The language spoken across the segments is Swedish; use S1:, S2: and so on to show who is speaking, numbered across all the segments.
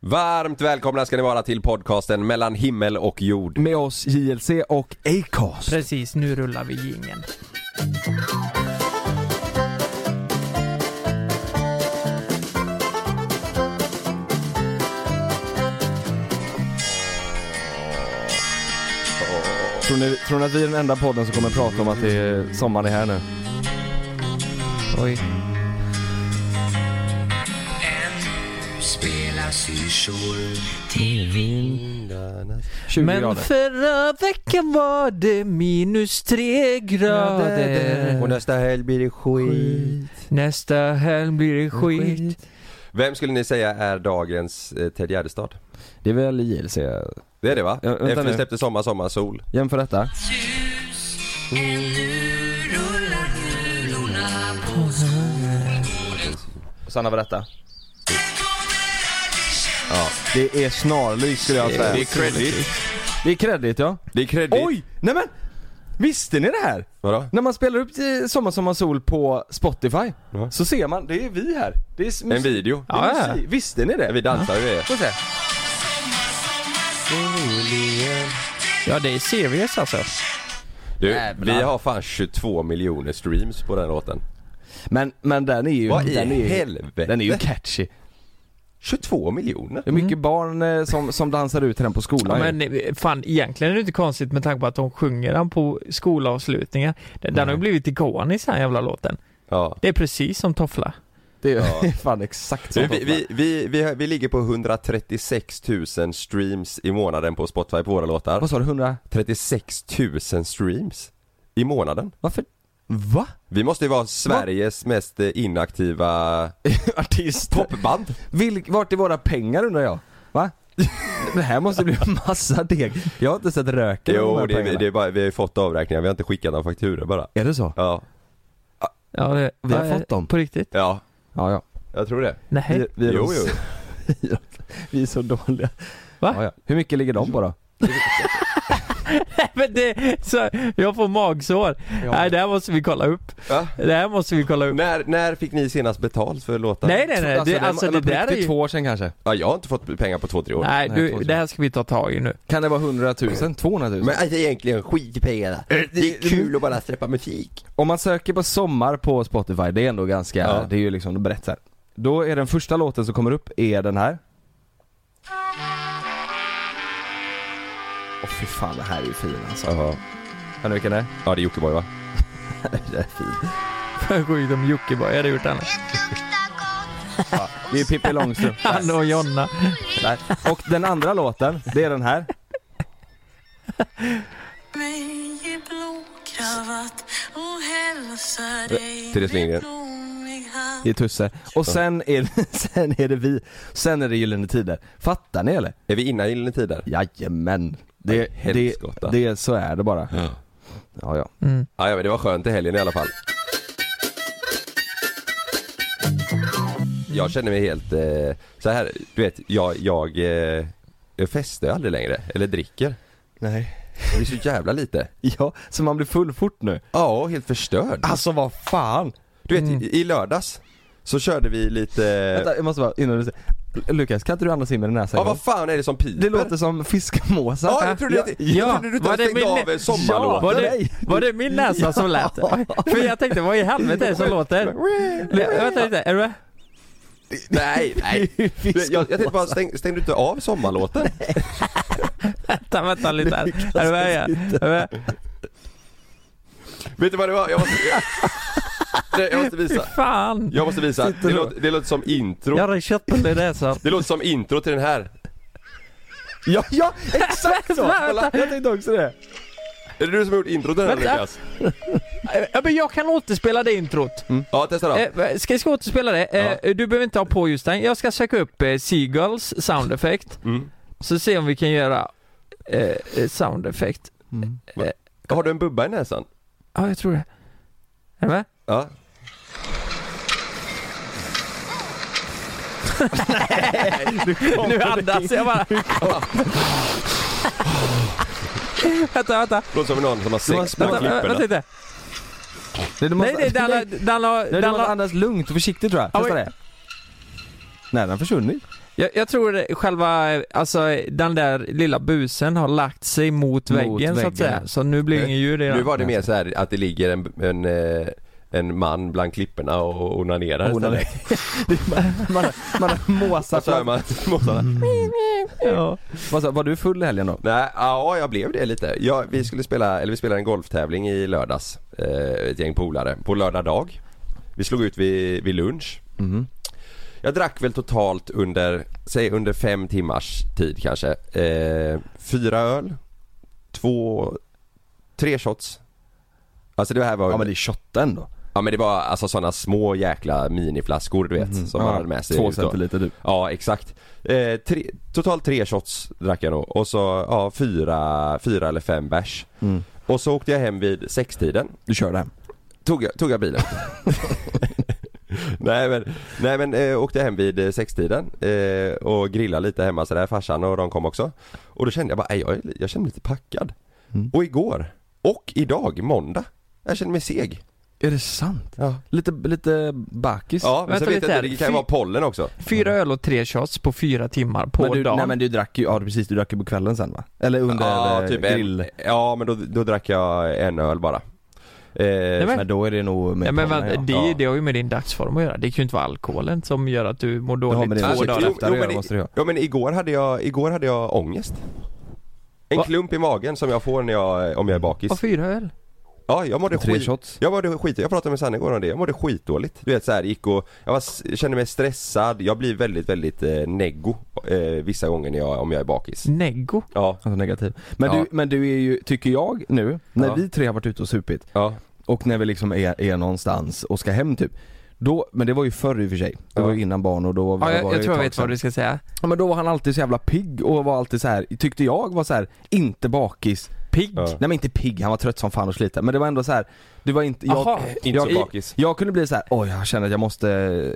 S1: Varmt välkomna ska ni vara till podcasten mellan himmel och jord.
S2: Med oss JLC och Acast.
S3: Precis, nu rullar vi jingeln.
S2: Tror ni, tror ni att vi är den enda podden som kommer prata om att det är sommaren är här nu?
S3: Oj.
S4: Spela syrsor
S2: 20
S3: Men
S2: grader.
S3: förra veckan var det minus tre grader.
S1: Och nästa helg blir det skit.
S3: Nästa helg blir det skit.
S1: Vem skulle ni säga är dagens eh, Ted Gärdestad?
S2: Det är väl JLC?
S1: Det är det va?
S2: Ja, vänta
S1: Efter vi
S2: nu.
S1: släppte Sommar, Sommar, Sol.
S2: Jämför detta. Sanna berätta. Ja, det är snarlikt skulle jag säga.
S1: credit.
S2: Det är kredit ja.
S1: Det är credit.
S2: Oj! Nej men! Visste ni det här?
S1: Vadå?
S2: När man spelar upp eh, Sommar Sommar Sol på Spotify
S1: Ja.
S2: så ser man, det är vi här. Det är s-
S1: En video.
S2: det är musik. Visste ni det?
S1: Vi dansar ju det.
S2: Får se.
S3: Ja, det är serious alltså.
S1: Du,
S2: Jävlar.
S1: vi har fan 22 miljoner streams på den låten.
S2: Men, men den är ju...
S1: Vad i
S2: den är ju,
S1: helvete?
S2: Den är ju catchy.
S1: 22 miljoner?
S2: Det är mycket barn eh, som, som dansar ut till den på skolan ju.
S3: Men eh, fan, egentligen är det inte konstigt med tanke på att de sjunger den på skolavslutningar. Den, den har ju blivit ikonisk den här jävla låten.
S1: Ja.
S3: Det är precis som Toffla.
S2: Det är ju fan exakt
S1: Du,
S2: så.
S1: vi, vi, vi, vi, vi ligger på 136 000 streams i månaden på Spotify på våra låtar.
S2: Vad sa du? 100?
S1: 36 000 streams i månaden.
S2: Varför? Va?
S1: Vi måste ju vara Sveriges mest eh, inaktiva
S2: Artist?
S1: popband.
S2: Vilk, vart är våra pengar undrar jag? Va? Det här måste bli en massa deg. Jag har inte sett röken av de
S1: Jo,
S2: här
S1: det, är-
S2: pengarna.
S1: det är bara, vi har ju fått avräkningar, vi har inte skickat några fakturor bara.
S2: Är det så?
S1: Ja,
S3: Ja, det,
S2: Vi har
S3: ja,
S2: fått dem.
S3: På riktigt?
S1: ja,
S2: Ja, ja.
S1: jag tror det.
S3: Nej.
S2: Vi, vi, är
S1: Jo,
S2: de-
S1: jo.
S2: vi är så dåliga.
S3: Va?
S2: Ja, ja. Hur mycket ligger de på då?
S3: Men det, så, jag får magsår.
S2: Alltså,
S3: Nej, det här måste vi kolla upp.
S1: Va?
S3: Det här måste vi kolla upp.
S1: När, när fick ni senast betalt för låtar?
S3: Nej, nej, nej. Det, alltså, det
S2: men på
S3: där är
S2: riktigt,
S3: ju...
S2: två år sedan kanske.
S1: Ja, jag har inte fått pengar på två, tre år.
S3: Nej,
S2: Nej, två
S3: du, det här ska vi ta tag i nu.
S2: Kan det vara 100 000? 200 000?
S1: Men alltså, egentligen skit i pengarna. Eh, Det är kul att bara släppa musik.
S2: Om man söker på sommar på Spotify, det är ändå ganska,
S1: Ja.
S2: det är ju liksom brett så här. Då är den första låten som kommer upp, är den här. Åh fy fan, det här är ju fin alltså.
S1: Jaha.
S2: Hör ni vilken det är?
S1: Ja, det är Jockiboi va?
S2: Det är fin.
S3: Sjukt om Jockiboi hade gjort annat.
S2: Det är ju Pippi Långstrump.
S3: Han och Jonna.
S2: Där. Och den andra låten, det är den här.
S5: mig i blå kravatt och hälsa dig
S1: Therese Lindgren.
S5: med blommig hand.
S2: Det är Tusse. Och sen är, det- sen är det vi. Sen är det Gyllene Tider. Fattar ni eller?
S1: Är vi innan Gyllene Tider?
S2: Jajamän.
S1: Aj,
S2: Det, det,
S1: helskotta.
S2: det, så är det bara.
S1: Ja.
S2: Ja, ja.
S3: Mm.
S1: Ja, ja, men det var skönt i helgen i alla fall. Jag känner mig helt, eh, så här, du vet, jag, jag, eh, jag festar aldrig längre, eller dricker.
S2: Nej.
S1: Det är så jävla lite.
S2: Ja, så man blir full fort nu.
S1: Ja, helt förstörd.
S2: Alltså vad fan!
S1: Du vet, i i lördags så körde vi lite,
S2: Vänta, jag måste bara, innan du säger. Lukas, kan inte du andas in med din
S1: Eh.
S2: näsa
S1: ja
S2: en gång?
S1: vad fan är det som piper?
S2: Det låter som fiskmåsar.
S1: Ja, jag trodde, jag, jag trodde du inte ens stängde av eh, sommarlåten.
S3: var, det,
S2: Nej.
S3: var det min näsa som lät? För jag tänkte, vad i helvete är det som låter? Vänta lite, är du med?
S1: Nej, nej. Du vet, Jag, jag tänkte bara, stäng, stängde du inte av sommarlåten?
S3: Vänta, vänta lite här. Är du med igen? Är du med?
S1: Vet du vad det var? Jag måste, nej, jag måste visa.
S3: Fan!
S1: Jag måste visa, det låter, det låter som intro
S3: Jag har köttbullar i näsan.
S1: Det låter som intro till den här
S2: Ja, ja, exakt så!
S3: Vänta.
S2: jag tänkte också det.
S1: Är det du som har gjort intro till den här
S3: Vänta.
S1: Lukas?
S3: Ja, men jag kan återspela det introt.
S1: Ja, testa då
S3: Eh, ska jag ska återspela det? Eh, Du behöver inte ha på just den. Jag ska söka upp eh, Seagulls sound effect.
S1: Mm.
S3: Så se om vi kan göra eh, eh, sound effect.
S1: Har du en bubba i näsan?
S3: Ja, jag tror det. Är du med?
S1: Ja
S3: Nu andas jag bara. vänta, vänta.
S1: Låter som någon som har
S2: har
S1: sex mellan
S2: spelat-
S3: Vänta, vänta
S1: klipporna
S3: lite.
S2: Nej, du måste,
S3: Nej, nej, den har... Den har...
S2: Nej, du
S3: Den
S2: måste
S3: har
S2: andas lugnt och försiktigt tror jag.
S3: Ja,
S2: Testa
S3: men-
S2: det. Nej, den har försvunnit.
S3: Jag, jag tror det- själva, alltså den där lilla busen har lagt sig
S2: Mot
S3: mot väggen, så
S2: väggen.
S3: att säga. Så nu blir det ingen djur redan.
S1: Nu var det mer så här att det ligger en, en, eh, en man bland klipporna och onanerar
S2: Hon hade,
S1: istället.
S2: man, man, man har
S1: Och
S2: måsat
S1: så hör
S2: fram.
S1: man småsarna.
S3: Mm. Ja.
S2: Vad sa- Var du full i helgen då?
S1: Nej, ja jag blev det lite. Ja, vi skulle spela, eller vi spelade en golftävling i lördags. Eh, ett gäng polare. På lördag dag. Vi slog ut vid, vid lunch.
S2: Mm.
S1: Jag drack väl totalt under, säg under fem timmars tid kanske. Eh, fyra öl. Två, tre shots. Alltså det här var
S2: Ja men det är shotten då.
S1: Ja men det var alltså sådana små jäkla miniflaskor du vet som man
S2: Mhm. Mm. Ja,
S1: hade med sig
S2: Två
S1: ut då.
S2: centiliter typ. du.
S1: Ja exakt. Eh, tre, totalt tre shots drack jag då och så ja, fyra, fyra eller fem bärs.
S2: Mm.
S1: Och så åkte jag hem vid sextiden.
S2: Du körde hem.
S1: Tog jag, tog jag bilen. nej men, nej, men eh, åkte jag hem vid eh, sextiden eh, och grillade lite hemma sådär. Farsan och de kom också. Och då kände jag bara, "Aj, jag, är li- jag kände mig lite packad.
S2: Mm.
S1: Och igår och idag, måndag. Jag kände mig seg.
S2: Är det sant?
S1: Ja,
S2: Lite, lite bakis?
S1: ja men
S3: Vänta
S1: så vet jag
S3: lite
S1: inte,
S3: här.
S1: det kan ju
S3: Fy-
S1: vara pollen också.
S3: Fyra öl och tre shots på fyra timmar på
S2: men du,
S3: dagen.
S2: Nej men du drack ju, ja precis du drack ju på kvällen sen va? Eller under
S1: ja,
S2: eh,
S1: typ
S2: grill?
S1: en, ja men då, då drack jag en öl bara. Eh,
S3: men-
S2: Men då är det nog med
S3: Nej, men
S2: pollen,
S3: vänta,
S2: ja.
S3: det,
S1: Ja.
S3: det har ju med din dagsform att göra. Det kan ju inte vara alkoholen som gör att du mår
S2: Ja, men
S3: dåligt
S2: det är
S3: två
S1: alltså,
S2: Alltså,
S3: dagar.
S1: jo, jo,
S2: kräftor att
S1: men
S2: göra
S1: i-
S2: måste det göra.
S1: Ja men igår hade jag, igår hade jag ångest. En
S3: Va?
S1: klump i magen som jag får när jag, om jag är bakis.
S3: Och fyra öl.
S1: Ja, jag mådde
S2: Tre
S1: skit.
S2: shots?
S1: Jag mådde skit, jag pratade med Sanne igår om det, jag mådde skitdåligt. Du vet så här, gick och, jag var, s- kände mig stressad, jag blir väldigt väldigt eh, neggo eh, vissa gånger när jag, om jag är bakis.
S3: Neggo.
S1: Ja,
S2: Alltså negativ. Men,
S1: Ja.
S2: du, men du är ju, tycker jag nu, när
S1: Ja.
S2: vi tre har varit ute och supit
S1: ja,
S2: och när vi liksom är, är någonstans och ska hem typ. Då, men det var ju förr i och för sig. Det var ju innan barn och då var,
S3: Ja, jag,
S2: var
S3: jag
S2: det
S3: tror jag
S2: ett
S3: vet
S2: tag
S3: vad du
S2: sedan.
S3: ska säga.
S2: Ja men då var han alltid så jävla pigg och var alltid så här, tyckte jag var så här, inte bakis.
S3: Pigg.
S1: Ja.
S2: Nej men inte pigg, han var trött som fan och sliten. Men det var ändå så här, det var inte, jag,
S3: Jaha.
S1: inte så
S2: jag,
S1: bakis.
S2: jag kunde bli så här, oj jag känner att jag måste,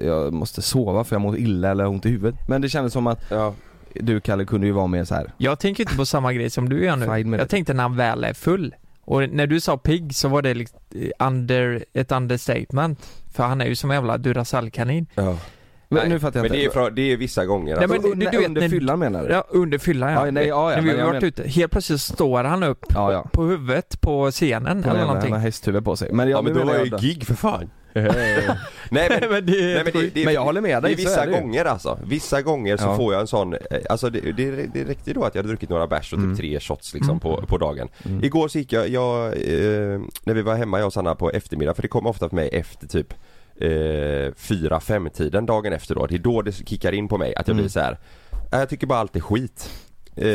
S2: jag måste sova för jag mår illa eller har ont i huvudet. Men det kändes som att
S1: Ja.
S2: du Kalle kunde ju vara mer så här.
S3: Jag tänker inte på samma grej som du gör
S2: Fine
S3: nu.
S2: med
S3: Jag
S2: det.
S3: tänkte när han väl är full. Och när du sa pigg så var det liksom eh, under, ett understatement. För han är ju som en jävla Duracell-kanin.
S1: ja.
S2: Men
S1: Nej,
S2: nu fattar jag
S1: Men det
S2: inte.
S1: är, från, det är vissa gånger
S3: Nej,
S1: alltså.
S3: men
S2: men,
S3: du- du vet,
S2: under
S3: när-
S2: fyllan menar du?
S3: Ja, under fyllan ja.
S2: Ja, nej, ja, ja,
S3: när vi
S2: men
S3: har
S2: jag
S3: varit
S2: men-
S3: ute. Helt plötsligt står han upp
S2: Ja, ja.
S3: på huvudet på scenen eller någonting.
S2: Han har hästhuvud på sig. Men jag,
S1: Ja men
S2: nu
S1: då var
S2: menar
S1: jag ju
S2: jag
S1: gig för fan.
S2: då-
S1: Nej men,
S3: men det är
S1: nej, men, det, det,
S2: Men jag håller med dig,
S1: Det är
S2: så
S1: vissa
S2: är det ju.
S1: gånger alltså. Vissa gånger så
S2: Ja.
S1: får jag en sån, eh, alltså det, det, det räckte ju då att jag hade druckit några bärs och
S2: Mm.
S1: typ tre shots liksom på, på dagen. Igår så gick jag, jag eh, när vi var hemma jag och Sanna på eftermiddag, för det kom ofta för mig efter typ eh, fyra, fem tiden dagen efter då. Det är då det kickar in på mig att jag
S2: Mm.
S1: blir så här. "Äh, jag tycker bara allt är skit. Eh,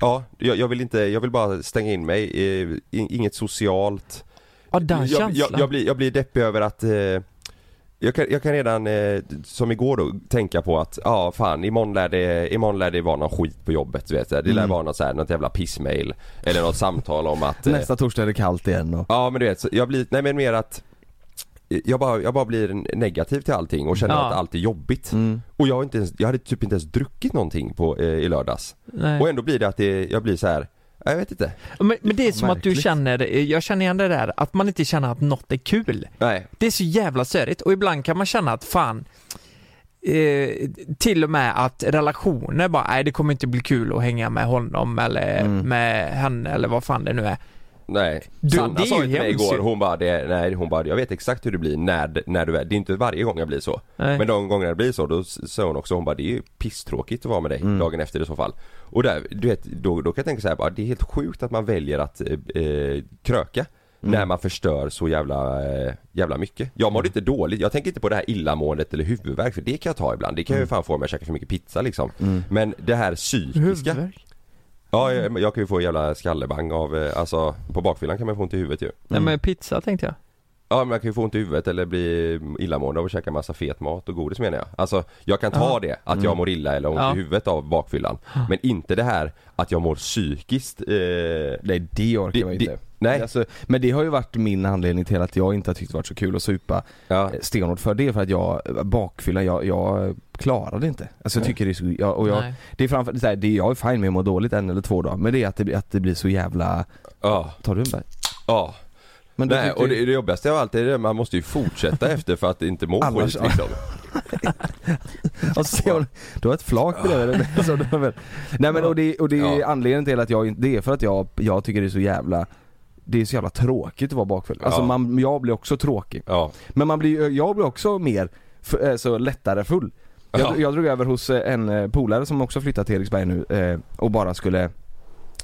S1: ja, jag, jag vill inte, jag vill bara stänga in mig, eh, in, inget socialt
S3: Ja, den
S1: jag,
S3: känslan.
S1: jag, jag, blir, jag blir deppig över att eh, jag, kan, jag kan redan, eh, som igår då, tänka på att ja ah, fan imorgon lär, det, imorgon lär det vara någon skit på jobbet du vet. Det lär
S2: Mm.
S1: vara något, så här, något jävla pissmail eller något samtal om att eh,
S2: Nästa torsdag är det kallt igen och...
S1: Ja men du vet, så jag blir, nej men mer att jag bara, jag bara blir negativ till allting och känner
S3: Ja.
S1: att allt är jobbigt.
S2: Mm.
S1: Och jag, har inte ens, jag hade typ inte ens druckit någonting på, eh, i lördags.
S3: Nej.
S1: Och ändå blir det att det, jag blir så här. jag vet inte.
S3: Men, men det är som att du
S2: märkligt.
S3: känner, eh, jag känner igen det där, att man inte känner att något är kul.
S1: Nej.
S3: Det är så jävla störigt och ibland kan man känna att fan Eh, till och med att relationer bara, nej det kommer inte bli kul att hänga med honom eller
S2: Mm.
S3: med henne eller vad fan det nu är.
S1: Nej,
S3: Du, det
S1: Sanna
S3: är
S1: sa ju
S3: ju
S1: till mig
S3: hemskt
S1: igår,
S3: ju.
S1: hon bara, det, nej hon bara, jag vet exakt hur det blir när, när du är, det är inte varje gång jag blir så.
S3: Nej.
S1: Men de gånger det blir så, då s- sa hon också, hon bara, det är ju pisstråkigt att vara med dig
S3: Mm.
S1: dagen efter i så fall. Och där, du vet, då, då kan jag tänka så här, bara, det är helt sjukt att man väljer att eh, eh, kröka.
S3: Mm.
S1: När man förstör så jävla, eh, jävla mycket. Jag mådde
S3: Mm.
S1: inte dåligt, jag tänker inte på det här illamåendet eller huvudvärk för det kan jag ta ibland. Det kan
S3: Mm.
S1: jag ju fan få om jag käkar för mycket pizza liksom. Men det här psykiska.
S3: Huvudvärk.
S1: Ja, jag, jag kan ju få en jävla skallebang av, eh, alltså på bakfyllan kan man få ont i huvudet ju.
S2: Mm.
S3: Nej men pizza tänkte jag.
S1: Ja men jag kan ju få ont i huvudet eller bli illamående av att käka massa fet mat och godis menar jag. Alltså jag kan ta
S3: Ja.
S1: det, att
S2: Mm.
S1: jag mår illa eller ont
S3: Ja.
S1: i huvudet av bakfyllan. Men inte det här att jag mår psykiskt, eh,
S2: Nej det orkar
S1: Det-
S2: jag
S1: det-
S2: inte.
S1: nej.
S2: Alltså, men det har ju varit min anledning till att jag inte har tyckt det varit så kul att supa
S1: ja.
S2: eh, stenhårt för. Det är för att jag, eh, bakfylla, jag, jag klarade inte. Alltså jag tycker det är så, jag, och jag,
S3: Nej.
S2: det är framför, det är så här, det är, jag är fine med att må dåligt en eller två dagar men det är att det, blir- att det blir så jävla,
S1: Ja,
S2: tar du en bär?
S1: ja.
S2: Men du
S1: Nej
S2: tyckte
S1: och
S2: ju-
S1: det, det jobbigaste av allt är det, man måste ju fortsätta efter för att inte må
S2: Annars-
S1: skit liksom.
S2: Och så ser hon, alltså, du har ett flak bredvid dig. Så du har- Nej men och det, och det är
S1: Ja.
S2: anledningen till att jag inte, det är för att jag, jag tycker det är så jävla det är så jävla tråkigt att vara bakfull. Alltså
S1: Ja.
S2: man, jag blir också tråkig.
S1: Ja,
S2: Men man blir, jag blir också mer, f- eh, så lättare full. Jag,
S1: Ja.
S2: jag drog över hos eh, en eh, polare som också flyttat till Eriksberg nu eh, och bara skulle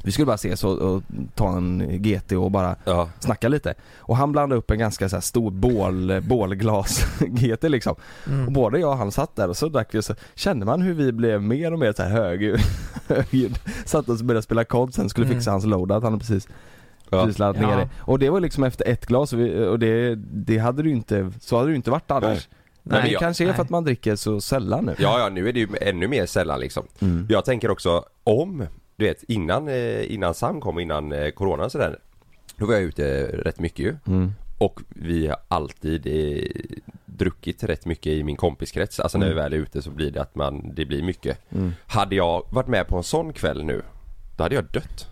S2: Vi skulle bara ses och, och ta en GT och bara
S1: ja,
S2: snacka lite. Och han blandade upp en ganska så här stor bål, bålglas GT liksom. Och
S3: Mm.
S2: både jag och han satt där och så drack vi och så kände man hur vi blev mer och mer så här hög, högljudd. Satt oss och började spela kod sen skulle
S3: Mm.
S2: fixa hans loadout, han hade precis,
S1: ja.
S2: precis laddat ner
S3: Ja.
S2: det. Och det var liksom efter ett glas och, vi, och det, det hade du inte, så hade du inte varit annars.
S1: Nej.
S2: Men
S1: men
S2: det
S1: jag-
S2: kanske är för
S3: nej.
S2: att man dricker så sällan nu.
S1: Ja, ja, nu är det ju ännu mer sällan liksom.
S2: Mm.
S1: Jag tänker också om, du vet innan, eh, innan Sam kom, innan eh, corona och sådär. Då var jag ute eh, rätt mycket ju.
S2: Mm.
S1: Och vi har alltid eh, druckit rätt mycket i min kompiskrets. Alltså när vi
S2: Mm.
S1: väl är ute så blir det att man, det blir mycket. Hade jag varit med på en sån kväll nu, då hade jag dött.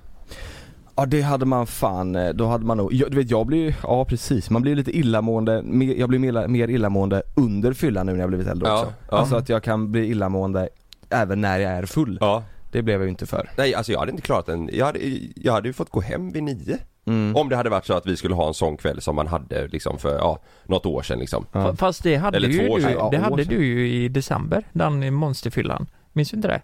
S2: Ja det hade man fan, eh, då hade man nog, jag, du vet jag blir ju- ja precis, man blir lite illamående, mer- jag blir mer, mer illamående under fyllan nu när jag blivit äldre
S1: Ja,
S2: också.
S1: ja.
S2: Alltså att jag kan bli illamående även när jag är full.
S1: Ja.
S2: Det blev jag ju inte för.
S1: Nej, alltså jag hade inte klarat en, jag hade, jag hade ju fått gå hem vid nio.
S2: Mm.
S1: Om det hade varit så att vi skulle ha en sån kväll som man hade liksom för, ja, något år sedan liksom.
S2: Ja.
S3: Fa- Fast det hade,
S1: Eller två
S3: ju
S1: år
S3: du,
S1: sedan.
S2: Ja,
S3: det
S2: år
S3: hade
S2: sedan.
S3: du ju i december, den monsterfyllan. Minns du inte det?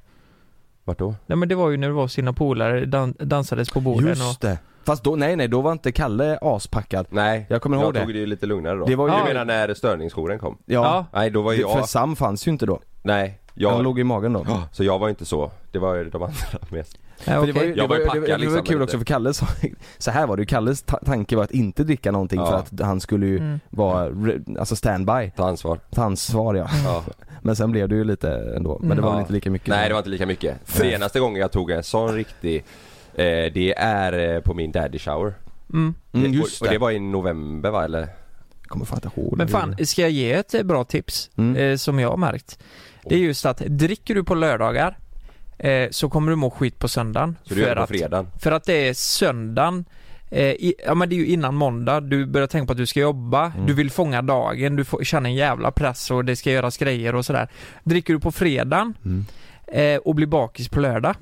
S1: Vart då?
S3: Nej men det var ju när du var hos dina polare, dan- dansades på borden och...
S2: Just det. Fast då, nej nej, då var inte Kalle aspackad.
S1: Nej,
S2: Jag kommer ihåg
S1: jag
S2: det.
S1: tog det ju lite lugnare då.
S2: Det var ju-
S1: Du menar när störningsjouren kom?
S2: Ja.
S3: Ja.
S1: Nej, då var ju
S2: Det, för
S1: jag,
S2: Sam fanns ju inte då.
S1: nej,
S2: Han
S1: jag,
S2: låg i magen då.
S1: Ja, så jag var inte så, det var ju de andra mest.
S3: Ja,
S2: För det var ju,
S3: okej.
S2: det
S1: Jag var
S2: var,
S1: ju
S2: ju- det,
S1: packad
S2: var- det var
S1: liksom,
S2: kul
S1: men
S2: också
S1: inte-
S2: för Kalle sa, så här var det ju, Kalles ta- tanke var att inte dricka någonting för
S1: Ja.
S2: att han skulle ju
S3: Mm.
S2: vara, re- alltså standby,
S1: Ta ansvar.
S2: ta ansvar ja.
S1: Ja.
S2: Men sen blev det ju lite ändå, men det
S3: Mm.
S2: var väl
S1: Ja.
S2: inte lika mycket
S1: Nej det var inte lika mycket. Senaste gången jag tog en sån riktig eh, Det är eh, på min daddy shower.
S3: Mm.
S2: mm, just
S1: och, och det
S2: det.
S1: var i november va eller?
S2: Jag kommer fan inte ihåg
S3: Men
S2: det.
S3: fan, ska jag ge ett eh, bra tips?
S2: Mm.
S3: Eh, som jag har märkt. Det är just att dricker du på lördagar eh, så kommer du må skit på söndagen.
S1: Så du gör det på
S3: att,
S1: fredagen?
S3: för att det är söndagen eh, i, ja men det är ju innan måndag, du börjar tänka på att du ska jobba,
S1: Mm.
S3: du vill fånga dagen, du får, känner en jävla press och det ska göras grejer och sådär. Dricker du på fredagen
S2: Mm.
S3: eh, och blir bakis på lördag,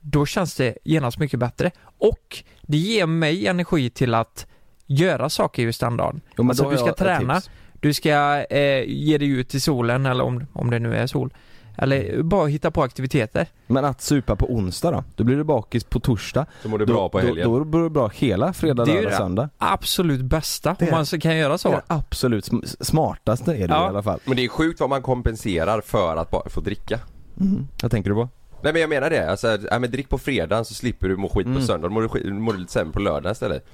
S3: då känns det genast mycket bättre. Och det ger mig energi till att göra saker just den dagen.
S2: Jo, men
S3: alltså,
S2: då har
S3: du ska
S2: jag ett
S3: träna.
S2: tips.
S3: Du ska eh, ge dig ut i solen eller om, om det nu är sol.
S2: Mm.
S3: Eller bara hitta på aktiviteter.
S2: Men att supa på onsdag då? Då blir du bakis på torsdag.
S1: Så mår du
S2: Då-
S1: bra på helgen?
S2: Då, då blir du bra hela fredag,
S3: Det är ju
S2: lördag,
S3: det.
S2: söndag.
S3: Absolut bästa
S2: Det är-
S3: om man så kan göra
S2: Det är
S3: så.
S2: det absolut sm- smartaste är det
S3: Ja.
S2: i alla fall.
S1: Men det är sjukt vad man kompenserar för att bara få dricka.
S2: Mm. Vad tänker du på?
S1: Nej men jag menar det, alltså, ja, men drick på fredagen så slipper du må skit
S2: Mm.
S1: på söndagen, mår du, skit, mår du lite sämre på lördagen istället.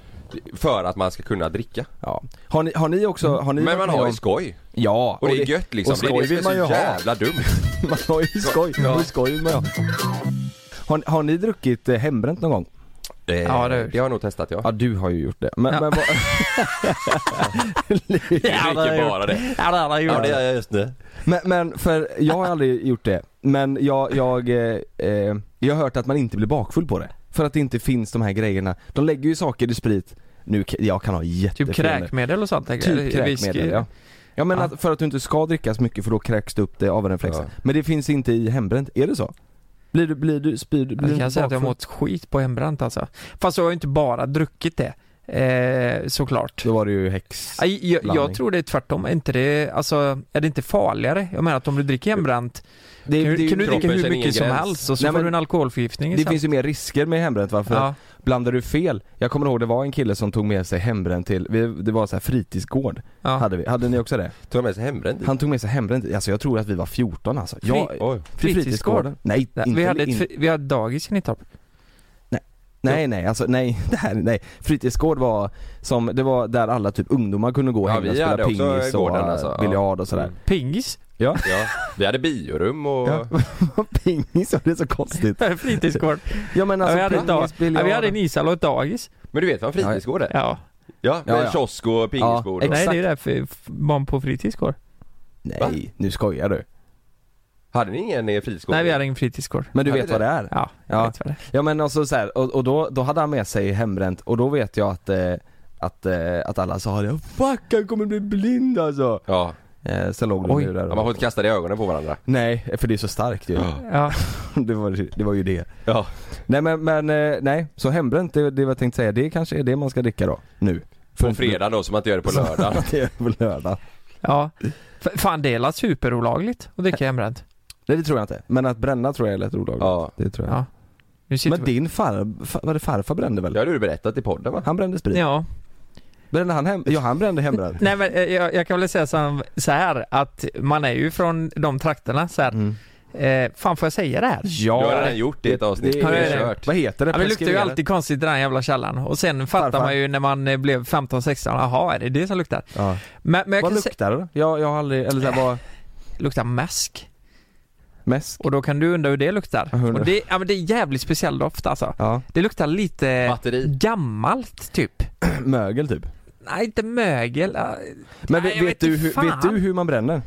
S1: För att man ska kunna dricka.
S2: Ja. Har ni, har ni också,
S3: Mm.
S2: har ni
S1: Men
S2: varit
S1: man
S2: med
S1: har
S2: om-
S1: ju skoj.
S2: Ja,
S1: Och det är gött liksom.
S2: och skoj
S1: det är
S2: vill
S1: det som
S2: man
S1: är
S2: ju
S1: så
S2: ha.
S1: jävla dumt.
S2: Man har ju skoj, man har ju skoj vill man ju ha. Har, har ni druckit eh, hembränt någon gång?
S1: Eh,
S3: Ja, det har jag
S1: det,
S3: gjort.
S1: har jag nog testat ja.
S2: Ja du har ju gjort det. Men,
S3: Ja.
S2: men vad...
S1: Du
S3: Ja, det har
S1: dricker
S3: jag
S1: bara det.
S3: Ja, det har jag gjort.
S1: jag just nu.
S2: Men, men för jag har aldrig gjort det. Men jag, jag, eh, eh, jag har hört att man inte blir bakfull på det. För att det inte finns de här grejerna. De lägger ju saker i sprit. Nu, k- jag kan ha jättefel
S3: Typ
S2: nu.
S3: kräkmedel och sånt. tänker jag.
S2: Typ
S3: Whisky.
S2: kräkmedel ja. Ja men
S3: Ja.
S2: Att, för att du inte ska dricka så mycket för då kräks det upp det av en
S1: Ja.
S2: Men det finns inte i hembränt, är det så? Blir du, blir du, spyr du, blir
S3: Jag
S2: du
S3: kan
S2: inte
S3: säga att jag har
S2: bakfull?
S3: mått skit på hembränt alltså. Fast jag har ju inte bara druckit det. Eh, såklart.
S2: Då var det ju häx.
S3: Nej, Jag,
S2: blandning.
S3: jag tror det är tvärtom. Är inte det, alltså, är det inte farligare? Jag menar att om du dricker hembränt,
S2: Det,
S3: kan,
S2: det,
S3: du- kan du
S1: kroppen
S3: dricka hur
S1: känner ingen
S3: mycket som
S1: gräns.
S3: helst och så
S2: Nej,
S3: får
S2: men-
S3: du en alkoholförgiftning
S2: det
S3: sen.
S2: finns ju mer risker med hembränt va? För
S3: liksom. ja.
S2: blandar du fel, jag kommer ihåg det var en kille som tog med sig hembränt till, vi, det var så här fritidsgård,
S3: Ja.
S2: hade vi. Hade ni också det?
S1: Tog jag med sig hembränt dit?
S2: Han tog med sig hembränt, alltså jag tror att vi var 14 alltså. Jag,
S3: Fri-
S1: Oj.
S2: till fritidsgården? Nej,
S3: Nej,
S2: inte,
S3: vi, hade
S2: in,
S3: ett, vi hade dagis i Nittorp.
S2: nej, nej, alltså nej, det här, nej. Fritidsgård var som, det var där alla typ ungdomar kunde gå
S1: Ja,
S2: hem
S1: vi
S2: och spela
S1: hade också
S2: pingis och
S1: gården, alltså. Ja.
S2: biljard och sådär.
S3: Pingis?
S1: Ja. Vi hade biorum och...
S2: Ja. pingis, var det så konstigt?
S3: Fritidsgård.
S2: Ja men alltså
S3: Ja, vi hade ett dag-
S2: pingis,
S3: ja,
S2: biljard.
S3: vi hade en ishall och ett dagis.
S1: Men du vet vad en fritidsgård är?
S3: Ja.
S1: Ja, med
S2: Ja, ja.
S1: kiosk och pingisbord
S2: Ja,
S1: och...
S2: exakt.
S3: Nej det är därför f- barn på fritidsgård.
S1: Va?
S2: Nej, nu skojar du.
S1: Hade ni ingen eh, fritidsgård?
S3: Nej vi hade ingen fritidsgård.
S2: Men du
S1: Hade
S2: vet
S1: det?
S2: vad det är?
S3: Ja,
S2: Ja.
S3: jag vet vad det är.
S2: Ja men alltså så här, och, och då, då hade han med sig hembränt och då vet jag att eh, att, eh, att alla sa det, 'Fuck han kommer bli blind alltså'
S1: Ja,
S2: Eh, sen låg de
S3: Oj.
S2: ju där
S1: Ja, man får inte kasta det i ögonen på varandra.
S2: Nej, för det är så starkt ju.
S3: Ja.
S2: det, var, det var ju det.
S1: Ja.
S2: Nej men, men eh, nej, så hembränt det, det jag tänkte säga, det kanske är det man ska dricka då, nu.
S1: På fredag då, så man inte gör det på lördag.
S2: det är på lördag.
S3: ja. F- Fan det är la superolagligt att dricka hembränt.
S2: Nej det tror jag inte, men att bränna tror jag är lätt olagligt.
S1: Ja.
S2: Det tror jag.
S3: Ja. Nu sitter
S2: Men
S3: vi...
S2: din far, far, var det farfar brände väl?
S1: Det har du berättat i podden va?
S2: Han brände sprit.
S3: Ja.
S2: Brände han hem, ja han brände hembränt.
S3: Nej men eh, jag, jag kan väl säga så så här att man är ju från de trakterna så här.
S2: Mm.
S3: Eh, fan får jag säga det här?
S1: Du har
S2: Ja.
S1: redan gjort det i ett avsnitt.
S2: Det-
S1: Det
S3: det-
S1: är kört.
S2: Vad heter det?
S3: Ja, men det luktar ju
S2: Preskriberat.
S3: alltid konstigt i den här jävla källan och sen fattar
S2: Farfar.
S3: man ju när man eh, blev 15-16, jaha är det det som luktar?
S2: Ja.
S3: Men, men jag
S2: Vad
S3: kan säga,
S2: luktar det då? Jag, jag har aldrig, eller såhär vad,
S3: luktar mäsk
S2: mest?
S3: och då kan du undra hur det
S2: Jag
S3: luktar.
S2: undrar.
S3: Och det, ja, men det är jävligt speciell doft alltså.
S2: Ja,
S3: Det luktar lite
S1: Batteri.
S3: gammalt typ.
S2: mögel typ.
S3: Nej inte mögel. eh,
S2: Men
S3: Nej,
S2: vet,
S3: jag
S2: vet,
S3: vet
S2: du,
S3: inte
S2: hur,
S3: fan.
S2: vet du hur man bränner?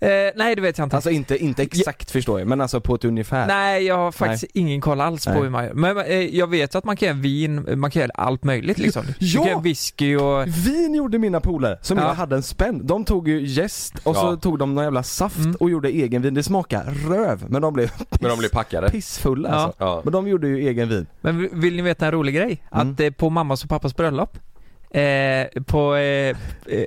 S3: Eh, nej det vet jag inte.
S2: Alltså inte, inte exakt förstår jag, men alltså på ett ungefär.
S3: Nej jag har faktiskt ingen koll alls på
S2: Nej.
S3: hur man gör. Men eh, jag vet att man kan göra vin, man kan göra allt möjligt liksom.
S2: Ja!
S3: Du kan göra whisky och...
S2: Vin gjorde mina polare, som
S3: Ja.
S2: jag hade en spänn. De tog ju jäst och så
S1: Ja.
S2: tog de någon jävla saft
S3: Mm.
S2: och gjorde egen vin. Det smakade röv, men de blev piss,
S1: Men de blir packade.
S2: pissfulla
S3: Ja.
S2: alltså.
S1: Ja.
S2: Men de gjorde ju egen vin.
S3: Men vill- vill ni veta en rolig grej?
S2: Mm.
S3: Att eh, på mammas och pappas bröllop eh, På... Eh, eh,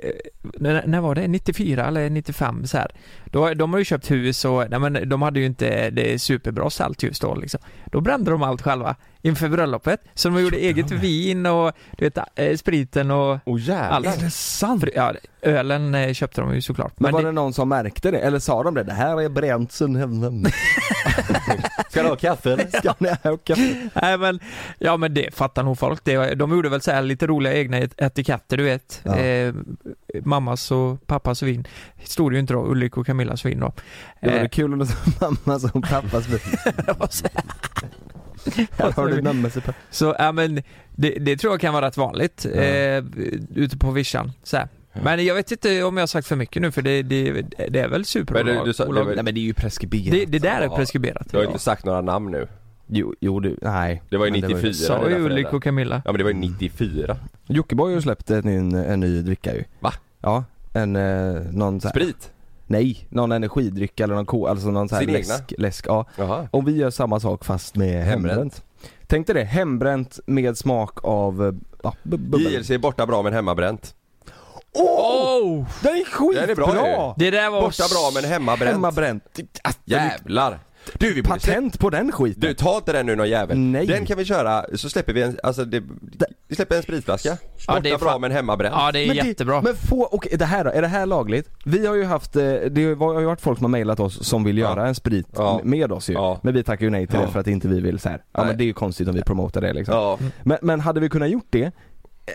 S3: när, när var det? 94 eller 95 så här. Då, de har ju köpt hus och nej, men de hade ju inte det superbra salthus då liksom. Då brände de allt själva inför bröllopet. Så de gjorde eget vin och du vet, eh, spriten och
S1: Åh jävlar.
S3: allt. sant? Ja, ölen eh, köpte de ju såklart.
S2: Men,
S3: Men,
S2: var
S3: det,
S2: det någon som märkte det? Eller sa de det? Det här är bränt sen hemma.
S1: Ska du ha kaffe eller?
S2: Ska ni ha kaffe?
S3: nej, men, ja men det fattar nog folk. Det, de gjorde väl så här lite roliga egna et- etiketter du vet.
S2: Ja.
S3: Eh, mammas och pappas vin. Stod ju inte då, Ulrik och Camillas vin då.
S2: Det var
S3: Eh,
S2: det kul om det var mamma som pappas vin. Här har du mammas och pappas.
S3: Alltså, Så ja men det, det tror jag kan vara rätt vanligt
S2: Ja.
S3: eh, ute på vischan så här. Men jag vet inte om jag har sagt för mycket nu för det, det, det är väl
S1: Men
S3: superbolag.
S1: du, du sa, det, var,
S2: men det är ju preskriberat.
S3: det, det där är
S1: Ja.
S3: preskriberat.
S1: du har ju inte sagt några namn nu.
S2: Jo, jo du, nej.
S1: Det var ju
S2: Men
S1: 94.
S3: Ja. Sa ju
S1: dina
S3: Ulrik
S1: föräldrar.
S3: och Camilla.
S1: Ja men det var ju 94.
S2: Jockiboi har ju släppt en, en, en ny dricka ju.
S1: Va?
S2: Ja, en, eh, någon så här,
S1: Sprit?
S2: Nej, någon energidryck eller någon ko, alltså någon så här
S1: Sin
S2: läsk, läsk, ja.
S1: Jaha.
S2: Och vi gör samma sak fast med hembränt.
S1: Hembränt.
S2: Tänk dig det, hembränt med smak av, eh, ja, bu- bubbel.
S1: JLC är borta bra men hemmabränt.
S3: Oh!
S2: Den är skitbra!
S1: Den är bra ju.
S3: Det där var...
S1: Borta bra men hemmabränt.
S2: Hemmabränt. Ah, den är-
S1: Jävlar! Du vi borde se-
S2: Patent på den skiten.
S1: Du ta inte den nu någon jävel.
S2: Nej.
S1: Den kan vi köra, så släpper vi en, alltså det, vi släpper en spritflaska.
S3: Ja,
S1: Borta
S3: det är
S1: bra
S3: fan-
S1: men hemmabränt.
S3: Ja det är jättebra.
S2: Det, men få, okej det här då, är det här lagligt? Vi har ju haft, eh, det var- har ju varit folk som har mejlat oss som vill
S1: Ja.
S2: göra en sprit
S1: Ja.
S2: m- med oss ju.
S1: Ja.
S2: Men vi tackar ju nej till det
S1: Ja.
S2: för att inte vi vill så här. ja
S1: Nej.
S2: men det är ju konstigt om vi promotar det liksom.
S1: Ja.
S2: Men, men hade vi kunnat gjort det,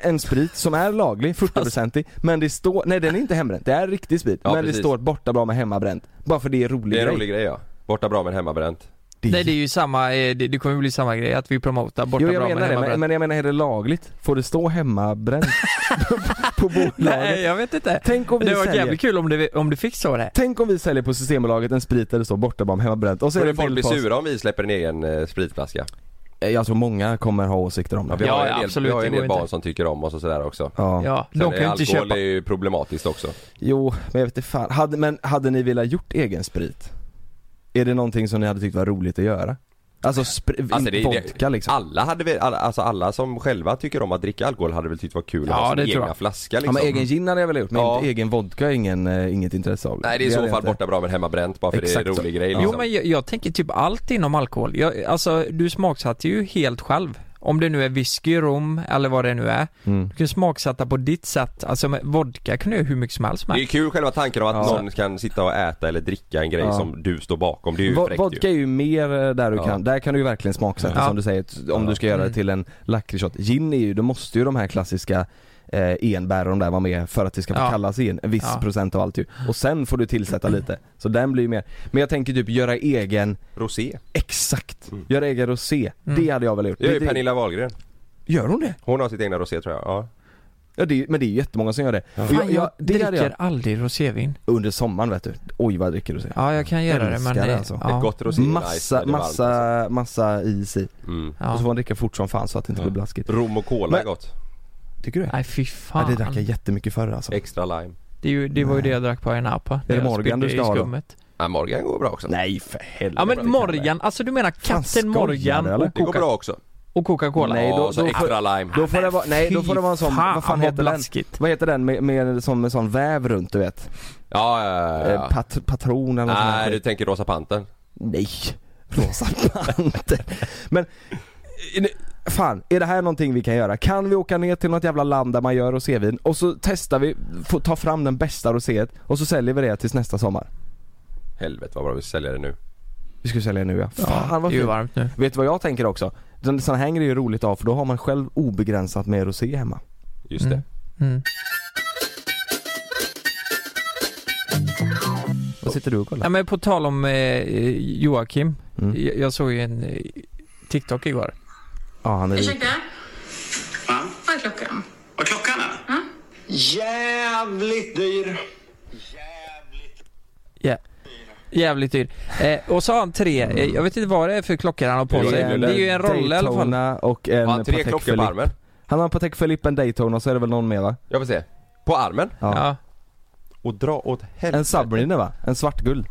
S2: en sprit som är laglig, 40-procentig, men det står, nej den är inte hembränt, det är riktig sprit,
S1: Ja,
S2: men det
S1: precis.
S2: står borta bra med hemmabränt. Bara för det är rolig
S1: Det är en
S2: grej.
S1: rolig grej ja. Borta bra men hemmabränt.
S2: Det är-
S3: Nej det är ju samma, eh, det, det kommer ju bli samma grej att vi promotar borta
S2: Jo
S3: bra
S2: jag menar
S3: men
S2: det,
S3: hemmabränt.
S2: men, men jag menar är det lagligt? Får det stå hemmabränt på
S3: Nej
S2: bolaget?
S3: jag vet inte.
S2: Tänk om vi
S3: Det var
S2: säljer
S3: jävligt kul om det, om det fick så det.
S2: Tänk om vi säljer på Systembolaget en sprit där det står borta bara med hemmabränt och så
S1: Tror
S2: är det
S1: du folk
S2: en bild
S1: blir
S2: på oss.
S1: sura om vi släpper en egen eh, spritflaska?
S2: Jag tror Eh, alltså, många kommer ha åsikter om
S1: Ja,
S2: det.
S1: vi har
S3: Ja,
S1: ju en del,
S3: absolut,
S1: vi har ju en
S3: det
S1: del
S3: går
S1: barn
S3: inte.
S1: som tycker om oss och sådär också.
S2: Ja.
S3: Ja,
S1: Sen
S3: de kan ju
S1: är
S3: inte
S1: alkohol
S3: köpa.
S1: är ju problematiskt också.
S2: Jo, men jag vet inte fan. Hade, men hade ni velat gjort egen sprit? Är det någonting som ni hade tyckt var roligt att göra? Alltså, spr-
S1: Alltså, det-
S2: vodka liksom?
S1: Alla hade väl, alla, alltså alla som själva tycker om att dricka alkohol hade väl tyckt var kul att
S3: Ja,
S1: ha
S3: det
S1: sin
S3: tror
S1: egna
S3: jag.
S1: flaska
S2: Ja
S1: liksom.
S2: men egen gin hade jag velat gjort, men
S1: Ja.
S2: inte egen vodka har ingen, eh, inget intresse av.
S1: Nej det är i
S2: hade
S1: så
S2: jag
S1: fall
S2: inte.
S1: borta bra men hemmabränt bara för
S2: Exakt
S1: det är en
S2: så.
S1: rolig grej
S2: Ja.
S1: liksom.
S3: Jo men jag, jag tänker typ allt inom alkohol. Jag, alltså du smaksatte ju helt själv. Om det nu är whisky, rom eller vad det nu är.
S2: Mm.
S3: Du kan smaksätta på ditt sätt. Alltså med vodka kan du göra hur mycket som helst
S1: Det är ju
S3: med.
S1: kul själva tanken om att
S2: Ja.
S1: någon kan sitta och äta eller dricka en grej
S2: Ja.
S1: som du står bakom. Det är ju
S2: Vo-
S1: fräckt
S2: vodka
S1: ju.
S2: är ju mer eh, där du
S1: Ja.
S2: kan, där kan du ju verkligen smaksätta
S3: Ja.
S2: som du säger, t- om du ska göra det
S3: Mm.
S2: till en lakritsshot. Gin är ju, då måste ju de här klassiska eh, enbär och de där vara med för att det ska få
S3: Ja.
S2: kallas in, en viss
S3: Ja.
S2: procent av allt ju. Och sen får du tillsätta
S1: Mm.
S2: lite, så den blir ju mer. Men jag tänker typ göra egen,
S1: Rosé.
S2: exakt,
S1: Mm.
S2: göra egen rosé. Det hade jag väl gjort.
S1: Det är Mm. ju
S2: Det- det-
S1: Pernilla Wahlgren.
S2: Gör hon det?
S1: Hon har sitt egna rosé tror jag. Ja.
S2: Ja, det är, men det är ju jättemånga som gör det. Och
S3: Fan, jag,
S2: det hade
S3: dricker aldrig rosévin.
S2: Under sommaren vet du, oj vad dricker du säger.
S3: Ja jag kan göra det
S2: Älskar
S3: men...
S2: det,
S3: eh,
S2: alltså.
S1: Ett
S3: ja.
S1: gott rosé är nice
S2: Massa,
S1: när det är varmt, alltså.
S2: massa, massa is i.
S1: Mm.
S2: Och så får
S3: Ja.
S2: man dricka fort som fan så att det inte blir blaskigt.
S1: Rom och cola är
S2: Men-
S1: gott.
S2: Tycker du det?
S3: Nej fy
S2: Ja,
S3: fan.
S2: det drack jag jättemycket förr alltså.
S1: Extra lime.
S3: Det, är ju, det var ju det jag drack på en appa. när
S2: det
S3: jag
S2: Morgan
S3: spydde
S2: du ska
S3: i
S2: ha då?
S3: skummet.
S1: Ja, Morgan går bra också.
S2: Nej för helvete.
S3: Ja men Morgan, alltså du menar katten
S2: skojar
S3: Morgan
S2: du, eller?
S3: och,
S1: Det går
S3: Coca-
S1: bra också.
S3: och Coca-Cola?
S2: Nej, då-
S1: ja, så
S2: då-
S1: extra lime.
S2: Då får det vara, nej då får det vara en sån,
S3: Fy
S2: vad fan
S3: vad
S2: heter den?
S3: blaskigt.
S2: Vad heter den med, med, sån, med sån väv runt du vet?
S1: Ja, ja, ja,
S2: Eh,
S1: ja.
S2: Pat, patron eller nåt sånt
S1: Nej,
S2: där
S1: du tänker Rosa Pantern.
S2: Nej, Rosa Panter. Men, är det- fan, är det här någonting vi kan göra? Kan vi åka ner till något jävla land där man gör rosévin och så testar vi, få ta fram den bästa roséet och så säljer vi det tills nästa sommar?
S1: Helvete vad bra vi säljer det nu.
S2: Vi ska sälja det nu ja. Fan vad
S3: det är ju
S2: fint.
S3: varmt nu.
S2: Vet du vad jag tänker också? Den- Sån här är ju roligt av för då har man själv obegränsat med rosé hemma.
S1: Just
S3: Mm.
S1: det.
S3: Mm.
S2: Vad sitter du och
S3: Ja,
S2: kollar?
S3: men på tal om eh, Joakim.
S2: Mm.
S3: Jag, jag såg ju en eh, TikTok igår.
S2: Ja, han är...
S4: Ursäkta?
S6: Va?
S4: Vad är klockan?
S6: Vad klockan är? Jävligt dyr.
S3: Ja. Jävligt dyr. Eh, och så har han tre,
S2: Mm.
S3: eh, jag vet inte vad det är för klockor han har på
S1: Det är
S3: sig.
S1: en
S3: Det är ju en roll i alla fall.
S2: Daytona och en
S1: Har han tre
S2: Patek
S1: klockor på
S2: Philippe.
S1: armen?
S2: Han har en Patek Philippe, en Daytona och så är det väl någon mer va?
S1: Jag får se. På armen?
S3: Ja.
S1: Och dra åt helvete.
S2: En Submariner va? En svartguld.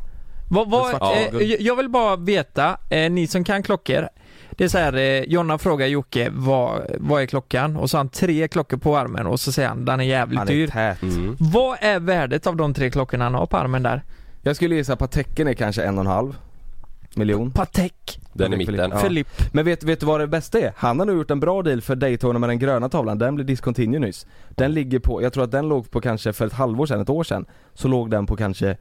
S3: Vad, vad,
S1: svart-
S3: eh,
S1: Ja.
S3: jag- jag vill bara veta, eh, ni som kan klockor. Det är så här, eh, Jonna frågar Jocke vad, vad är klockan? Och så har han tre klockor på armen och så säger han den är jävligt
S2: Han är
S3: dyr.
S2: tät.
S1: Mm.
S3: Vad är värdet av de tre klockorna han har på armen där?
S2: Jag skulle gissa att Pateken är kanske en och en halv miljon.
S3: Patek,
S1: Den i
S2: Patek
S1: mitten.
S2: Philippe. Ja.
S3: Philippe.
S2: Men vet, vet du vad det bästa är? Han har nu gjort en bra deal för Daytona med den gröna tavlan, den blev discontinued nyss. Den ligger på, jag tror att den låg på kanske för ett halvår sedan, ett år sedan, så låg den på kanske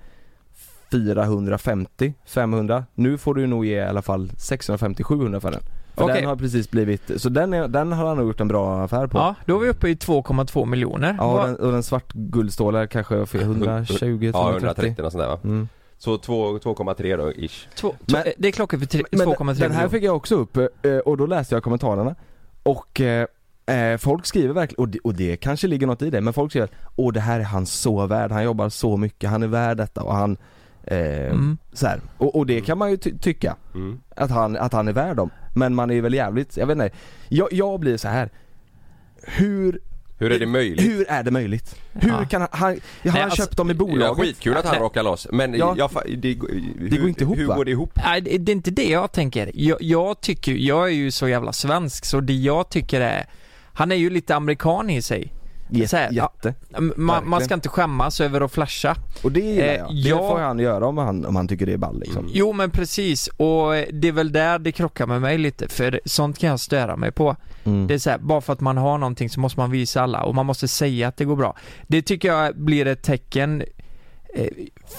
S2: 450, 500. Nu får du nog ge i alla fall 650-700 för den. För
S3: Okej.
S2: den har precis blivit, så den, är, den har han nog gjort en bra affär på. Ja.
S3: Ja, då är vi uppe i 2,2 miljoner.
S2: och
S3: Vad-
S2: den, och den svartguldstålar kanske för 120,
S1: Ja,
S2: 130.
S1: 130 och sånt där va?
S2: Mm.
S1: Så två- 2,3 då ish.
S3: två, två,
S2: Men-
S3: eh, det är klockor för tre-
S2: Men
S3: 2,3
S2: den här
S3: miljoner.
S2: fick jag också upp eh, och då läste jag kommentarerna och eh, eh, folk skriver verkligen, och det, och det kanske ligger något i det, men folk skriver att åh det här är han så värd, han jobbar så mycket, han är värd detta och han eh,
S3: Mm.
S2: så här. Och, och det kan man ju ty- tycka
S1: Mm.
S2: att han, att han är värd dem, men man är väl jävligt, jag vet inte, jag, jag blir så här hur,
S1: Hur är det möjligt?
S2: hur är det möjligt? Hur
S3: Ja.
S2: kan han, han, han har
S3: alltså,
S2: köpt dem i
S1: Ja,
S2: bolaget?
S1: skitkul att han
S3: Nej.
S1: råkar loss men
S2: Ja.
S1: jag, fa- det, hur,
S2: går inte ihop,
S1: Hur
S2: va?
S1: går det ihop?
S3: Nej, det det är inte det jag tänker. Jag, jag tycker, jag är ju så jävla svensk så det jag tycker är, han är ju lite amerikan i sig.
S2: Jä-
S3: Så här, ja.
S2: jätte.
S3: Man, man
S2: Verkligen.
S3: ska inte skämmas över att flasha.
S2: Och det gillar
S3: Eh,
S2: jag.
S3: jag-
S2: Det får han göra om han, om han tycker det är ball
S1: Mm.
S2: liksom.
S3: Jo men precis, och eh, det är väl där det krockar med mig lite för sånt kan jag störa mig på. Det är så här, bara för att man har någonting så måste man visa alla och man måste säga att det går bra. Det tycker jag blir ett tecken eh,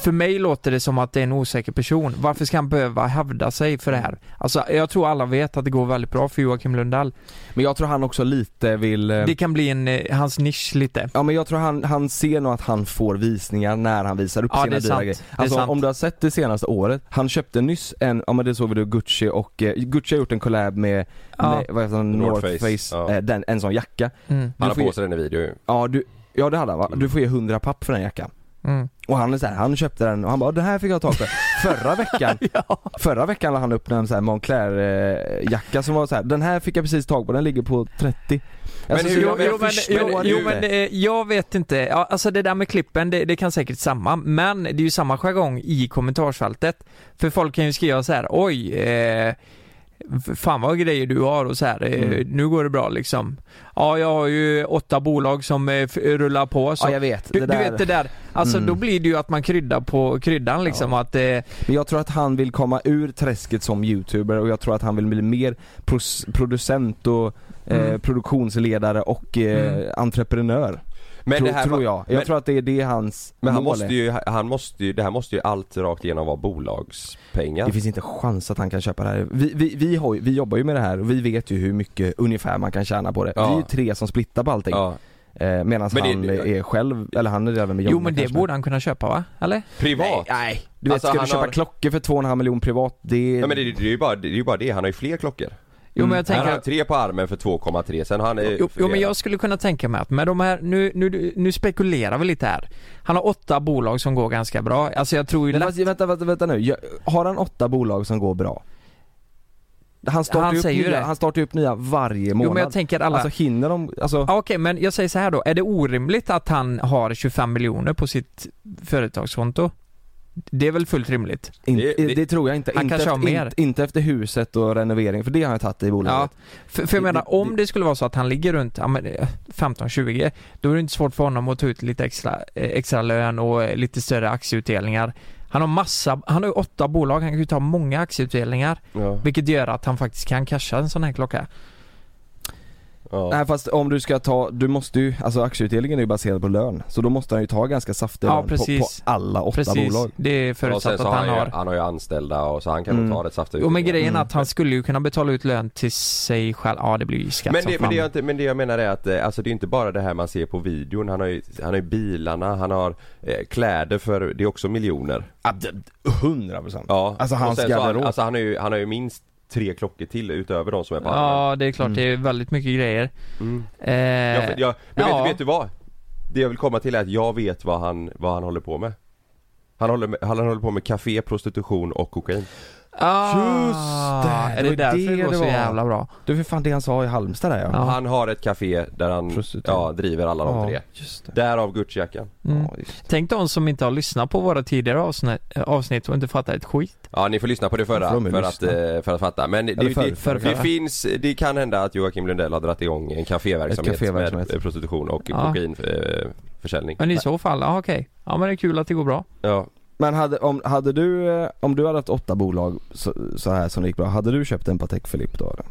S3: för mig låter det som att det är en osäker person. Varför ska han behöva hävda sig för det här? Alltså jag tror alla vet att det går väldigt bra för Joakim Lundell.
S2: Men jag tror han också lite vill eh,
S3: Det kan bli en, eh, hans nisch lite.
S2: Ja men jag tror han, han ser nog att han får visningar när han visar upp
S3: Ja, det
S2: sina
S3: är
S2: dyra
S3: sant.
S2: grejer.
S3: Det är
S2: Alltså
S3: sant.
S2: om du har sett det senaste året, han köpte nyss en, ja men det såg vi då Gucci och, eh, Gucci har gjort en collab med,
S3: Ja.
S2: med vad heter den, North
S1: North
S2: Face,
S1: Face, ja.
S2: eh, den, en sån jacka.
S3: Mm.
S1: Han
S2: Du
S1: har
S2: får
S1: på
S2: ge,
S1: sig den i video ju.
S2: ja, du, ja det hade han va? Du får ge 100 papp för den jackan.
S3: Mm.
S2: Och han är så här, han köpte den och han bara "Den här fick jag tag på. förra veckan, förra veckan la han upp en sån här Moncler eh, jacka som var så här, den här fick jag precis tag på, den ligger på 30. Alltså,
S1: hur-
S2: så
S3: Jo,
S2: jag- jag
S3: jo, men,
S2: förstår
S3: jo, jo
S2: inte.
S3: men eh, jag vet inte, ja, alltså det där med klippen det, det kan säkert samma, men det är ju samma jargong i kommentarsfältet. För folk kan ju skriva så här: oj, eh, f- fan vad grejer du har och så här, eh,
S2: Mm.
S3: nu går det bra liksom. Ja, jag har ju åtta bolag som eh, f- rullar på så.
S2: ja jag vet,
S3: du,
S2: det där... Mm.
S3: du vet det där, alltså då blir det ju att man kryddar på kryddan liksom att eh,
S2: Men jag tror att han vill komma ur träsket som youtuber och jag tror att han vill bli mer pros- producent och eh,
S3: Mm.
S2: produktionsledare och eh, entreprenör.
S1: Mm. Men
S2: Tro,
S1: det här
S2: tror
S1: var-
S2: jag. Jag
S1: men-
S2: tror att det är det hans
S1: Men han
S2: mål
S1: måste
S2: är.
S1: ju, han måste ju, det här måste ju allt rakt igenom vara bolagspengar.
S2: Det finns inte chans att han kan köpa det här. Vi, vi, vi, har, ju- vi jobbar ju med det här och vi vet ju hur mycket ungefär man kan tjäna på det.
S1: Ja.
S2: Vi är ju tre som splittar på allting.
S1: Ja.
S2: Eh, Medan
S1: Men det-
S2: han är själv, eller han är även med
S3: jo
S2: Jonna
S3: men det
S2: kanske.
S3: borde han kunna köpa va? Eller?
S1: Privat?
S2: Nej, du vet
S1: Alltså,
S2: ska
S1: han
S2: du köpa
S1: har-
S2: klockor för 2,5 miljoner privat, det...
S1: Ja men det, det, är ju bara, det är ju bara det, han har ju fler klockor.
S3: Jo
S2: Mm.
S3: men jag tänker
S1: han har tre på armen för 2,3 sen har han... eh,
S3: Jo, jo men
S1: flera.
S3: jag skulle kunna tänka mig att med de här, nu, nu, nu spekulerar vi lite här. Han har åtta bolag som går ganska bra. Alltså jag tror ju
S2: Men
S3: lätt,
S2: fast, vänta, vänta, vänta nu. Jag- Har han åtta bolag som går bra? han startar
S3: Han
S2: ju upp
S3: säger ju
S2: nya,
S3: det.
S2: han startar ju upp nya varje månad.
S3: Jo men jag tänker alla...
S2: Alltså hinner de, alltså,
S3: Ja, Okej, men jag säger så här då. Är det orimligt att han har 25 miljoner på sitt företagskonto? Det är väl fullt rimligt?
S2: in,
S1: det-
S2: det, tror jag inte.
S3: Han
S2: inte
S3: kanske
S2: efter,
S3: har mer.
S2: Inte, inte efter huset och renovering, för det har jag tagit i
S3: Ja,
S2: bolaget.
S3: för, för jag
S2: Det-
S3: menar
S2: det-
S3: om det skulle vara så att han ligger runt ja, men, eh, 15-20 Då är det inte svårt för honom att ta ut lite extra, eh, extra lön och eh, lite större aktieutdelningar Han har massa, han har ju åtta bolag, han kan ju ta många aktieutdelningar
S1: Ja.
S3: Vilket gör att han faktiskt kan casha en sån här klocka
S1: Ja.
S2: Nej fast om du ska ta, du måste ju, alltså aktieutdelningen är ju baserad på lön. Så då måste han ju ta ganska saftig
S3: Ja,
S2: lön på, på
S3: precis.
S2: alla åtta
S3: Precis,
S2: bolag.
S3: det är
S1: Och sen
S3: förutsatt
S1: så
S3: att han
S1: ju-
S3: har
S1: han har ju anställda och så han kan
S2: Mm.
S1: nog ta rätt saftiga
S3: Jo men
S1: utdelningar.
S3: grejen är
S2: Mm.
S3: att han skulle ju kunna betala ut lön till sig själv, ja det blir ju skatt
S1: Men
S3: som
S1: det, men,
S3: fan.
S1: det jag inte, men det jag menar är att eh, alltså det är inte bara det här man ser på videon. Han har ju, han har ju bilarna, han har eh, kläder för, det är också miljoner.
S2: Ja, det- 100 procent.
S1: Ja.
S2: Alltså,
S1: Och
S2: hans
S1: sen så har han,
S2: garderob.
S1: alltså han har ju, han har ju minst tre klockor till utöver de som är på armen.
S3: Ja det är klart,
S2: Mm.
S3: det är väldigt mycket grejer
S1: Mm.
S3: eh,
S1: Jag, jag, men
S3: ja.
S1: vet, vet du vad? Det jag vill komma till är att jag vet vad han, vad han håller på med. Han håller, med, han håller på med café, prostitution och kokain.
S3: Ah,
S2: Just det,
S3: Är
S2: det
S3: det
S2: var
S3: därför
S2: det
S3: det går
S2: det
S3: så
S2: var.
S3: jävla bra?
S2: Du för fan det han sa i Halmstad där ja.
S3: Ja.
S1: Han har ett café där han
S2: Prostitution.
S1: ja, driver alla de tre.
S2: just det.
S1: Därav Gucci-jackan.
S3: Mm.
S2: Ja, just det.
S3: Tänk de som inte har lyssnat på våra tidigare avsnitt, avsnitt och inte fattar ett skit.
S1: Ja ni får lyssna på det
S2: Ja,
S1: förra
S2: får de ju
S1: för, att,
S2: lyssna.
S1: eh, för att fatta. Men det,
S2: Eller förr,
S1: det,
S2: förr,
S1: det,
S3: förr.
S1: finns, det kan hända att Joakim Lundell har dragit igång en
S2: Ett
S1: kaféverksamhet
S2: kaféverksamhet.
S1: med eh, prostitution och
S3: Ja.
S1: kokainförsäljning.
S3: Men i så fall, ja okej. Ja men det är kul att det går bra.
S1: Ja.
S2: Men hade, om, hade du, eh, om du hade haft åtta bolag så, så här som det gick bra, hade du köpt en Patek Philippe då eller?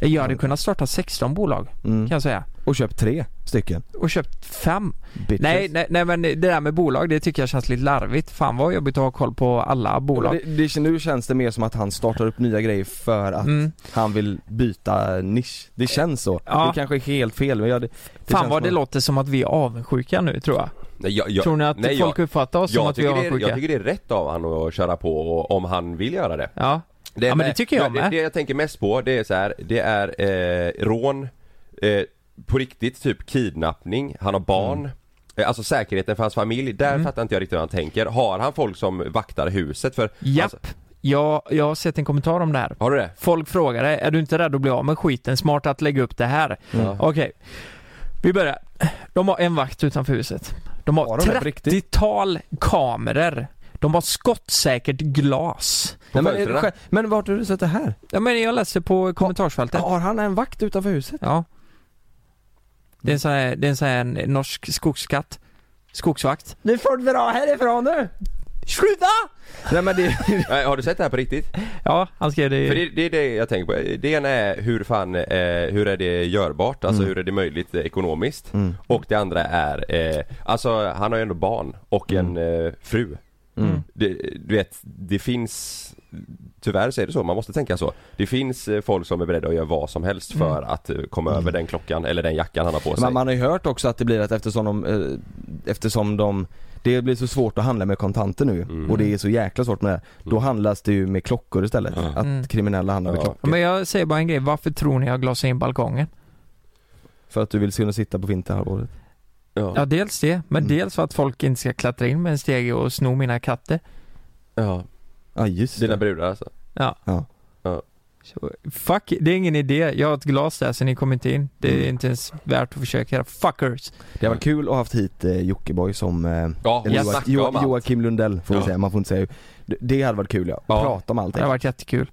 S3: Jag hade kunnat starta 16 bolag
S2: Mm.
S3: kan jag säga.
S2: Och köpt tre stycken?
S3: Och köpt fem.
S2: Bitches.
S3: Nej, nej, nej men det där med bolag det tycker jag känns lite larvigt. Fan vad jobbigt att ha koll på alla bolag.
S2: Det, det, nu känns det mer som att han startar upp nya grejer för att
S3: Mm.
S2: han vill byta nisch. Det känns så.
S3: Ja.
S2: Det kanske är helt fel men jag, det, det känns
S3: Fan vad det
S2: som att-
S3: låter som att vi är avundsjuka nu tror jag.
S1: Nej, jag, jag,
S3: tror ni att
S1: nej,
S3: folk
S1: jag,
S3: uppfattar oss som
S1: jag,
S3: att vi är
S1: tycker det är,
S3: avundsjuka?
S1: jag tycker det är rätt av han att köra på och, om han vill göra det.
S3: Ja.
S1: det
S3: Ja, men det tycker jag
S1: det,
S3: med.
S1: det jag tänker mest på det är så här, det är eh, rån, eh, på riktigt typ kidnappning, han har barn.
S3: Mm.
S1: Eh, Alltså säkerheten för hans familj, där fattar inte jag riktigt hur han tänker. Har han folk som vaktar huset? För,
S3: Japp.
S1: alltså,
S3: Jag, jag har sett en kommentar om det här.
S1: har du det?
S3: Folk frågade, är du inte rädd att bli av med skiten? Smart att lägga upp det här.
S1: Ja.
S3: Okej. Vi börjar. De har en vakt utanför huset. De har,
S2: Har de det på riktigt?
S3: 30-tal kameror. De har skottsäkert glas.
S1: På
S2: Nej, men, är det
S1: fönstren?
S2: själv- men vart har du sett det här?
S3: Ja men jag läste på kommentarsfältet.
S2: Har han en vakt utanför huset?
S3: Ja. Det är en sån här, det är en sån här norsk skogsskatt. Skogsvakt.
S2: Nu får du dra härifrån nu!
S3: Sluta!
S2: Nej men det,
S1: Nej, har du sett det här på riktigt?
S2: Eh.
S3: Ja, han skrev det.
S1: För det, det är det jag tänker på. Det ena är hur fan, eh, hur är det görbart?
S2: Mm.
S1: Alltså hur är det möjligt eh, ekonomiskt? Och det andra är, eh, alltså han har ju ändå barn och
S2: Mm.
S1: en eh, fru. Det, du vet, det finns Tyvärr så är det så, man måste tänka så. Det finns eh, folk som är beredda att göra vad som helst för att eh, komma över den klockan eller den jackan han har på sig.
S2: Mm. Men man har ju hört också att det blir att eftersom de, eh, eftersom de det blir så svårt att handla med kontanter nu
S1: Mm.
S2: och det är så jäkla svårt med det. Då handlas det ju med klockor istället. Att
S3: Mm.
S2: kriminella handlar med
S1: Ja.
S2: klockor.
S3: Men jag säger bara en grej. Varför tror ni jag glasar in balkongen?
S2: För att du vill kunna sitta på vinterhalvåret.
S3: Ja
S1: ja.
S3: dels det, men
S2: Mm.
S3: dels för att folk inte ska klättra in med en stege och sno mina katter.
S1: Ja.
S2: Ja just
S1: Dina
S2: det.
S1: brudar alltså?
S3: Ja.
S2: Ja.
S3: Så, fuck, det är ingen idé. Jag har ett glas där så ni kommer inte in. Det är
S1: Mm.
S3: inte ens värt att försöka era fuckers.
S2: Det var kul att ha haft hit eh, Jockiboi som eh,
S1: Ja,
S2: eller
S3: jag
S2: Joak-
S1: snacka
S2: Jo-
S1: om allt.
S2: Joakim Lundell får vi
S1: Ja.
S2: säga, man får inte säga Det- Det hade varit kul ja.
S1: Ja.
S2: Prata om
S3: Det
S2: allting.
S3: har varit jättekul.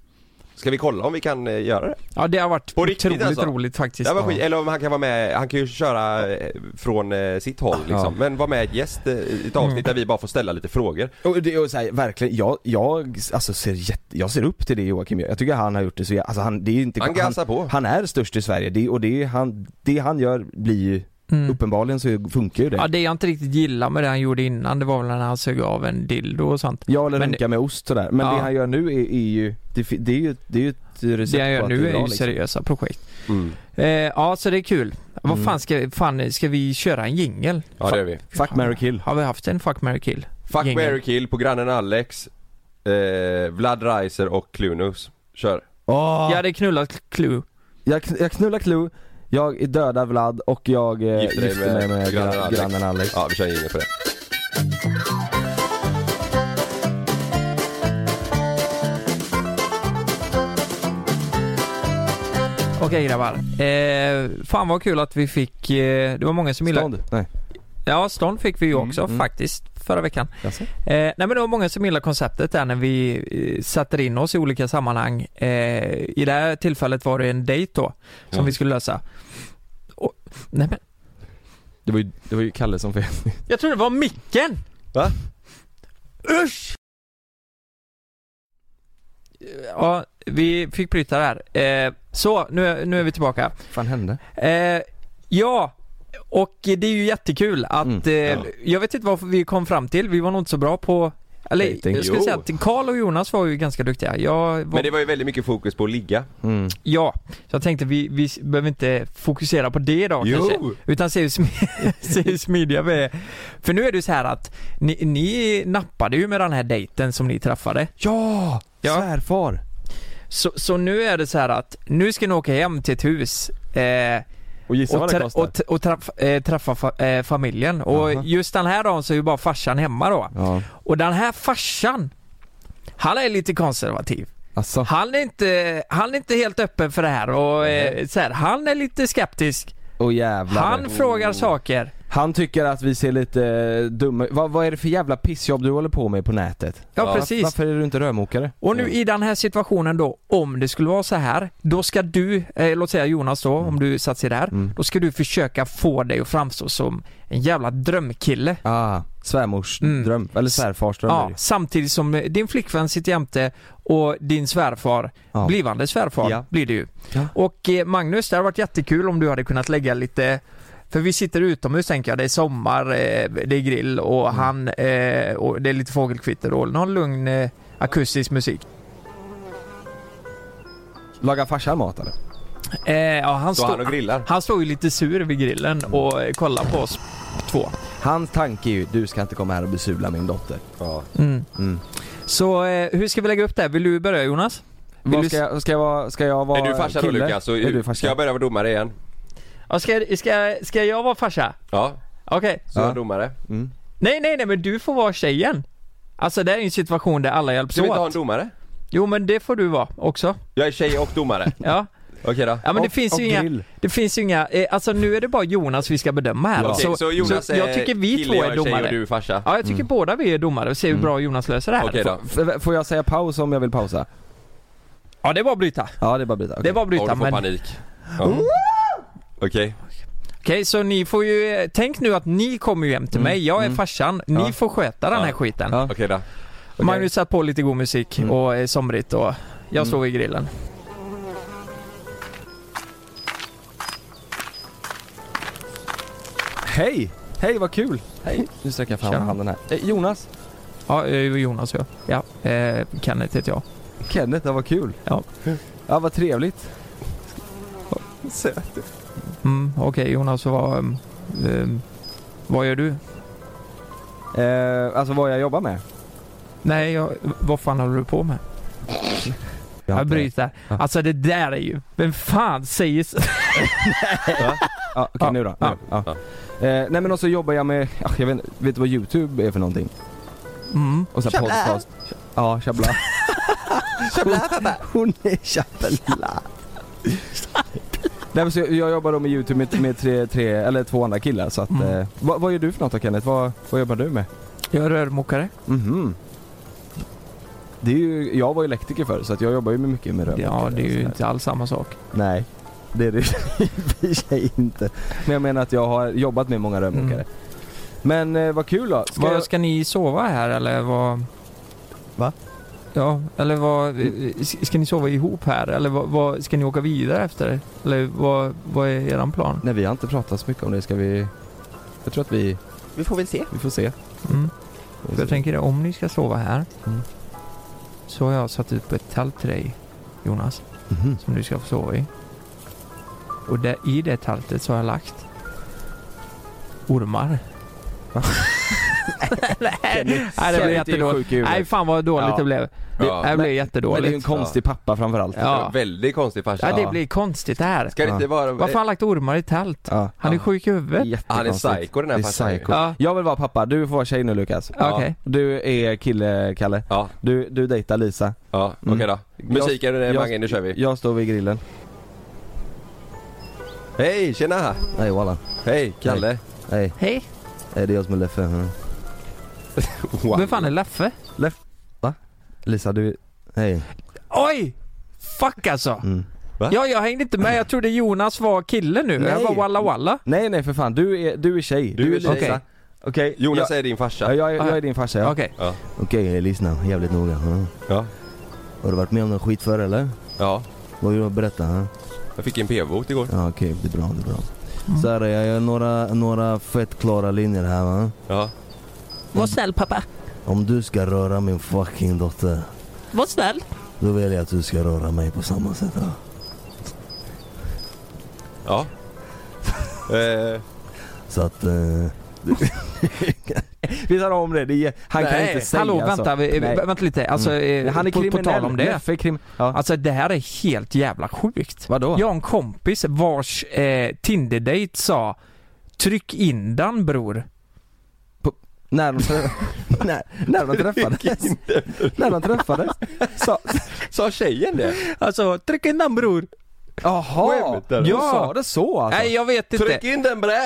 S1: Ska vi kolla om vi kan eh, göra det?
S3: Ja det har varit
S1: På riktigt,
S3: otroligt
S1: alltså?
S3: roligt faktiskt.
S1: Ja, men skit, eller om han kan vara med, han kan ju köra eh, från eh, sitt håll liksom.
S2: Ja. Mm.
S1: Men vara med gäst eh, i ett avsnitt där vi bara får ställa lite frågor.
S2: Och det är så här, verkligen, jag, jag, alltså ser jätte, jag ser upp till det Joakim gör. Jag tycker han har gjort det så jä- alltså han, det är inte,
S1: Han gasar på.
S2: Han är störst i Sverige det, och det han, det han gör blir ju,
S3: Mm.
S2: uppenbarligen så funkar ju det.
S3: Ja
S2: Ja,
S3: det jag inte riktigt gillar med det han gjorde innan, det var väl när han sög av en dildo och sånt.
S2: eller
S3: men-
S2: runka med ost sådär. Men
S3: Ja.
S2: det han gör nu är, är ju, det, fi- det är ju, det är ju ett recept
S3: Det han
S2: på
S3: gör
S2: att
S3: nu
S2: det
S3: är
S2: bra,
S3: ju
S2: liksom.
S3: seriösa projekt.
S2: Mm.
S3: Eh, ja så det är kul. Vad fan ska, fan ska vi köra en jingel?
S1: Ja det gör vi.
S2: Fuck, marry, kill.
S3: Har vi haft en fuck, marry, kill?
S1: Fuck,
S3: Gängen.
S1: marry, kill på grannen Alex, eh, Vlad Reiser och Klunus. Kör.
S2: Åh,
S3: Jag hade knullat Clue.
S2: jag, kn- jag knullar Clue, jag dödar Vlad och jag eh,
S1: Gifter dig
S2: gifter mig med, grannen, Alex. grannen Alex.
S1: Ja vi kör ingen på det.
S3: Okej grabbar. Eh, fan vad kul att vi fick, eh, det var många som gillade...
S2: Stånd? Nej.
S3: Ja, stånd fick vi ju
S2: Mm,
S3: också
S2: mm.
S3: faktiskt förra veckan.
S2: Jaså?
S3: Eh, nej men det var många som gillade konceptet där när vi eh, satte in oss i olika sammanhang. Eh, I det här tillfället var det en dejt då, som
S1: Ja.
S3: vi skulle lösa. Och, nej men,
S2: Det var ju, det var ju Kalle som fel.
S3: jag tror det var micken!
S2: Va?
S3: Usch! Ja, vi fick bryta där. Eh, så, nu, är- nu är vi tillbaka.
S2: fan hände?
S3: Eh, ja, och det är ju jättekul att,
S2: Mm,
S3: eh,
S1: ja.
S3: jag vet inte vad vi kom fram till, vi var nog inte så bra på eller
S2: Dating.
S3: jag skulle
S1: Jo.
S3: säga att Karl och Jonas var ju ganska duktiga. Jag var,
S1: Men det var ju väldigt mycket fokus på att ligga.
S2: Mm.
S3: Ja, så jag tänkte vi, vi behöver inte fokusera på det idag kanske. Utan se hur, smi se hur smidiga vi är. För nu är det ju så här att ni, ni nappade ju med den här dejten som ni träffade.
S2: Ja!
S3: Ja.
S2: Svärfar!
S3: Så, så nu är det så här att nu ska ni åka hem till ett hus. Eh,
S2: Och gissa
S3: och,
S2: vad det
S3: tra-
S2: kostar?
S3: och, t- och träff- eh, träffa fa- eh, familjen. Och
S2: Jaha.
S3: just den här dagen så är ju bara farsan hemma då.
S2: ja.
S3: Och den här farsan, han är lite konservativ.
S2: Alltså.
S3: Han är inte, han är inte helt öppen för det här och eh, så här, han är lite skeptisk.
S2: Åh jävlar.
S3: Han frågar saker.
S2: Han tycker att vi ser lite eh, dumma vad, vad är det för jävla pissjobb du håller på med på nätet?
S3: Ja,
S1: Ja.
S3: precis.
S2: Varför är du inte rörmokare?
S3: Och nu i den här situationen då, om det skulle vara så här, då ska du, eh, låt säga Jonas då, om du satt sig där,
S2: Mm.
S3: då ska du försöka få dig att framstå som en jävla drömkille.
S2: Ah, svärmors
S3: Mm.
S2: dröm. Eller svärfars dröm är det
S3: Ja,
S2: ju.
S3: samtidigt som eh, din flickvän sitter jämte och din svärfar,
S2: Ja.
S3: blivande svärfar
S2: Ja.
S3: blir det ju.
S2: Ja.
S3: Och eh, Magnus, det hade varit jättekul om du hade kunnat lägga lite för vi sitter utomhus tänker jag, det är sommar, eh, det är grill och
S2: Mm.
S3: han, eh, och det är lite fågelkvitter och någon lugn eh, akustisk musik.
S2: Lagar farsan mat eller?
S3: Eh, ja, han,
S1: Så
S3: stod,
S1: han och grillar.
S3: han stod ju lite sur vid grillen och eh, kollade på oss två.
S2: Hans tanke är ju, du ska inte komma här och besula min dotter.
S1: Ja.
S3: Mm.
S2: Mm.
S3: Så eh, hur ska vi lägga upp det här? Vill du börja Jonas? Vill
S2: Vad
S3: du-
S2: ska, jag, ska, jag vara, ska jag vara
S1: Är du farsa då
S2: kille?
S1: Lukas? Så,
S2: Är du
S1: Ska
S2: farsa?
S1: jag börja vara domare igen?
S3: Ja, ska, ska, ska jag vara farsa?
S1: Ja,
S3: Okej.
S1: så är
S2: Ja.
S1: jag domare.
S3: Nej, nej, nej, men du får vara tjejen. Alltså det är ju en situation där alla hjälps
S1: Ska vi inte ha en
S3: åt.
S1: domare?
S3: Jo, men det får du vara också.
S1: Jag är tjej och domare.
S3: Ja,
S1: Okej då.
S3: ja men det
S2: Och-
S3: finns
S2: och
S3: ju inga,
S2: grill.
S3: det finns ju inga, eh, alltså nu är det bara Jonas vi ska bedöma här.
S2: Ja.
S1: Okej, så Jonas
S3: så
S1: är
S3: jag tycker vi
S1: kille,
S3: två
S1: jag
S3: är
S1: tjej och du
S3: domare.
S1: är farsa.
S3: Ja, jag tycker båda vi är domare och ser hur bra Jonas löser det här.
S1: Okej då.
S2: F- Får jag säga paus om jag vill pausa?
S3: Ja, det var bryta.
S2: Ja det är bara att bryta.
S3: Det
S2: Okej.
S3: var
S1: Ja,
S3: bryta,
S1: du får
S3: men
S1: panik. Ja. Okej.
S3: Okej, så ni får ju, tänk nu att ni kommer ju hem till mig, jag är farsan, ni
S2: Mm. Ja.
S3: får sköta den här
S1: Ja.
S3: skiten.
S2: Ja. Mm.
S1: Okej då.
S2: Okej.
S3: Magnus satt på lite god musik och är somrigt och
S2: Mm.
S3: jag står vid grillen.
S2: Hej! Hej vad kul! Hej! Nu sträcker jag fram
S3: Tjena.
S2: handen här. Eh, Jonas!
S3: Ja, eh, Jonas och jag. Ja, eh, Kenneth heter jag.
S2: Kenneth, ja, vad kul!
S3: Ja.
S2: Ja vad trevligt.
S3: Mm, Okej Jonas, vad, ehm, ehm, vad gör du?
S2: Eh, alltså vad jag jobbar med.
S3: Nej, jag, vad fan håller du på med?
S2: Jag har
S3: Jag
S2: inte-
S3: bryter.
S2: Ja.
S3: Alltså det där är ju, vem fan säger så?
S2: Ja, okej
S3: Ja.
S2: nu då.
S3: Ja.
S2: Nu. Ja. Eh, nej men och så jobbar jag med, ja, jag vet inte, vet du vad youtube är för någonting?
S3: Mm.
S2: Och sen podcast. Ja, chabla. chabla pappa. Hon är chabla. Nej men så jag, jag jobbar då med youtube med, med tre, tre, eller två andra killar så att,
S3: Mm.
S2: eh, vad, vad gör du för något då Kenneth? Vad, vad jobbar du med?
S3: Jag är rörmokare.
S2: Mhm. Det är ju, jag var elektriker förr så att jag jobbar ju med mycket med rör.
S3: Ja, det är ju inte alls samma sak.
S2: Nej, det är det i och för sig inte. Men jag menar att jag har jobbat med många rörmokare. Men eh, Mm. vad kul då. Ska
S3: Ska,
S2: jag...
S3: ska ni sova här eller vad?
S2: Va? Mm.
S3: Ja, eller vad, s- ska ni sova ihop här eller vad, vad ska ni åka vidare efter? Eller vad, vad är eran plan?
S2: Nej vi har inte pratat så mycket om det. Ska vi... Jag tror att vi...
S1: Vi får väl se.
S2: Vi får se.
S3: Mm. För Jag tänker det, om ni ska sova här
S2: Mm.
S3: så har jag satt upp ett tält till dig Jonas,
S2: Mhm.
S3: som du ska få sova i. Och där, i det tältet så har jag lagt ormar. Nej, det blir jättedåligt. Nej, fan vad dåligt
S2: Ja.
S3: det blev. Det,
S1: Ja.
S3: det här
S2: Men-
S3: blev
S2: Men
S3: jättedåligt.
S2: det är ju en konstig pappa framförallt.
S3: Ja.
S1: Väldigt konstig farsa.
S3: Ja, det
S2: Ja.
S3: blir konstigt det här.
S1: Ska det inte vara...
S3: Varför har han lagt ormar i tält?
S2: Ja.
S3: Han är
S1: Ja.
S3: sjuk i huvudet.
S1: Han är
S2: Jättekonstigt.
S1: psycho den här
S2: Det är
S1: farsan. ju.
S2: psycho.
S3: Ja.
S2: Jag vill vara pappa. Du får vara tjej nu Lukas.
S3: Okej.
S1: Ja.
S2: Du är kille, Kalle.
S1: Ja,
S2: Du, du dejtar Lisa.
S1: ja.
S2: Mm.
S1: okej då. Musiken, eh, Mange, nu kör vi.
S2: Jag står vid grillen.
S1: Hej, tjena!
S2: Hej walla.
S1: Hej, Kalle!
S2: Hej.
S3: Hej,
S2: Hej det är jag som är Leffe. Mm.
S1: Wow.
S3: vem fan är Leffe?
S2: Leff... Va? Lisa du... Hej.
S3: Oj! Fuck alltså!
S2: Mm.
S1: Va?
S3: Ja, jag hängde inte med. Jag trodde Jonas var kille nu. Jag
S2: Nej.
S3: var walla walla.
S2: Nej nej för fan, du är, du är tjej.
S1: Du är tjej.
S2: Lisa. Okej.
S1: Jonas
S2: jag,
S1: är din
S2: ja,
S1: farsa.
S2: jag, är, jag är din farsa ja.
S3: Okej.
S1: Ja.
S2: Okej, lyssna jävligt noga. Mm.
S1: Ja.
S2: Har du varit med om någon skit förr eller?
S1: ja.
S2: Vad vill du berätta? Mm.
S1: Jag fick en p-bot igår.
S2: Ja okej, det är bra, det är bra.
S3: Mm.
S2: Så här, jag gör några, några fett klara linjer här va.
S1: Ja.
S3: Var snäll pappa.
S2: Om du ska röra min fucking dotter,
S3: Var snäll.
S2: då vill jag att du ska röra mig på samma sätt va.
S1: Ja. eh,
S2: Så att... Eh... Vi tar om det, det är, han kan inte säga
S3: Hallå,
S2: så.
S3: vänta, vi-
S2: Nej. Mm.
S3: vänta lite. Alltså, eh,
S2: Han är
S3: på,
S2: kriminell,
S3: på tal om det.
S2: Leffe är krim... ja.
S3: Alltså det här är helt jävla sjukt.
S2: Vadå?
S3: Jag har en kompis vars eh, Tinder-date sa Tryck in den bror.
S2: När de, trä... när, när de träffades. när de träffades. Så...
S1: sa tjejen det?
S3: Alltså, tryck in den bror.
S2: Jaha!
S1: Skämtar du?
S2: Ja. sa det så alltså?
S3: Nej jag vet inte.
S1: Tryck in den bre!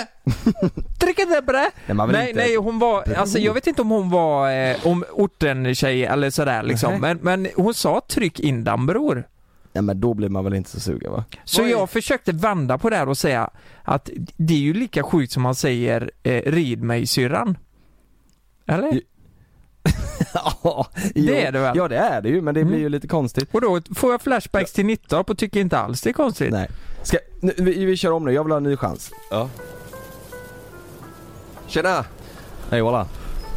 S3: Tryck in den brä.
S2: Nej, man vill
S3: Nej,
S2: inte-
S3: nej hon var, alltså jag vet inte om hon var, eh, om orten tjej eller sådär liksom.
S2: Nej.
S3: Men, men hon sa tryck in den bror.
S2: Nej men då blir man väl inte så sugen va?
S3: Så
S1: Vad är-
S3: jag försökte vända på det här och säga att det är ju lika sjukt som man säger eh, rid mig syrran. Eller?
S2: Ja,
S3: Det är det väl? Mm.
S2: Ja det är det ju, men det blir ju lite konstigt.
S3: Och då får jag flashbacks till 19 och tycker inte alls det är konstigt.
S2: Nej. Ska, nu, vi, vi kör om nu, jag vill ha en ny chans.
S1: Ja. Tjena!
S2: Hej Ola.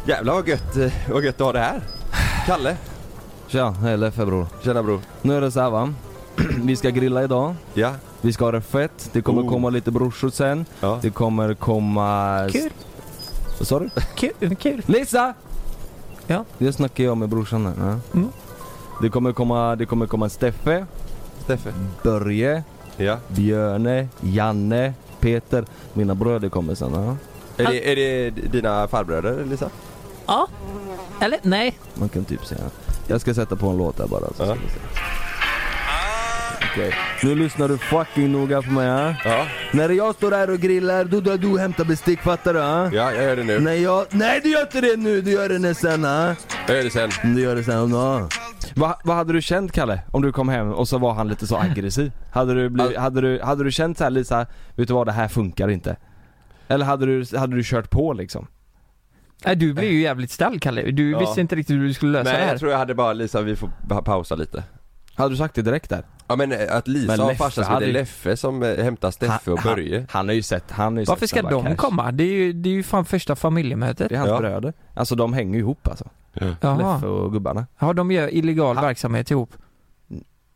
S1: Jävlar vad gött, eh, vad gött att ha det här. Kalle.
S2: Tja, hej Leffe bror.
S1: Tjena bror.
S2: Nu är det så här va. Vi ska grilla idag.
S1: Ja.
S2: Vi ska ha det fett. Det kommer
S1: Oh.
S2: komma lite brorsor sen.
S1: Ja.
S2: Det kommer komma...
S3: Kul.
S2: Vad sa du?
S3: Kul, eh, kul.
S2: Lisa!
S3: Ja.
S2: Det snackar jag med brorsan här. Ja.
S3: Mm.
S2: Det kommer komma, det kommer komma Steffe,
S1: Steffe.
S2: Börje,
S1: Ja.
S2: Björne, Janne, Peter. Mina bröder kommer sen. Ja.
S1: Är det, är det dina farbröder Lisa?
S3: Ja. Eller nej.
S2: Man kan typ säga. Jag ska sätta på en låt här bara. Så
S1: Ja.
S2: ska vi se. Okej. Nu lyssnar du fucking noga på mig. Ja?
S1: Ja.
S2: När jag står här och grillar, då drar du och hämtar bestick. Fattar du? Ja?
S1: Ja, jag gör det nu.
S2: När jag... Nej du gör inte det nu! Du gör det när sen. Ja?
S1: Jag gör det sen.
S2: Du gör det sen. Ja. Vad hade du känt Kalle? Om du kom hem och så var han lite så aggressiv? Hade du, blivit, hade du, hade du känt så här Lisa, vet du vad det här funkar inte? Eller hade du, hade du kört på liksom?
S3: nej du blev ju jävligt ställd Kalle. Du
S1: Ja.
S3: visste inte riktigt hur du skulle lösa det
S1: Nej,
S3: här.
S1: jag tror jag hade bara Lisa, vi får pa- pausa lite.
S2: Hade du sagt det direkt där?
S1: Ja men eh, att Lisa
S2: Men
S1: har
S2: Leffe
S1: farsa som heter
S2: hade-
S1: Leffe som eh, hämtar Steffe och Börje.
S2: Han, han har ju sett, han har ju
S3: Varför
S2: sett
S3: ska
S2: Snabba
S3: de
S2: Cash.
S3: komma? Det är, ju, det är ju fan första familjemötet.
S2: Det är hans
S1: Ja.
S2: bröder. Alltså de hänger ju ihop alltså.
S3: Jaha.
S2: Leffe och gubbarna.
S3: Ja, de gör illegal
S2: Ha-
S3: verksamhet ihop.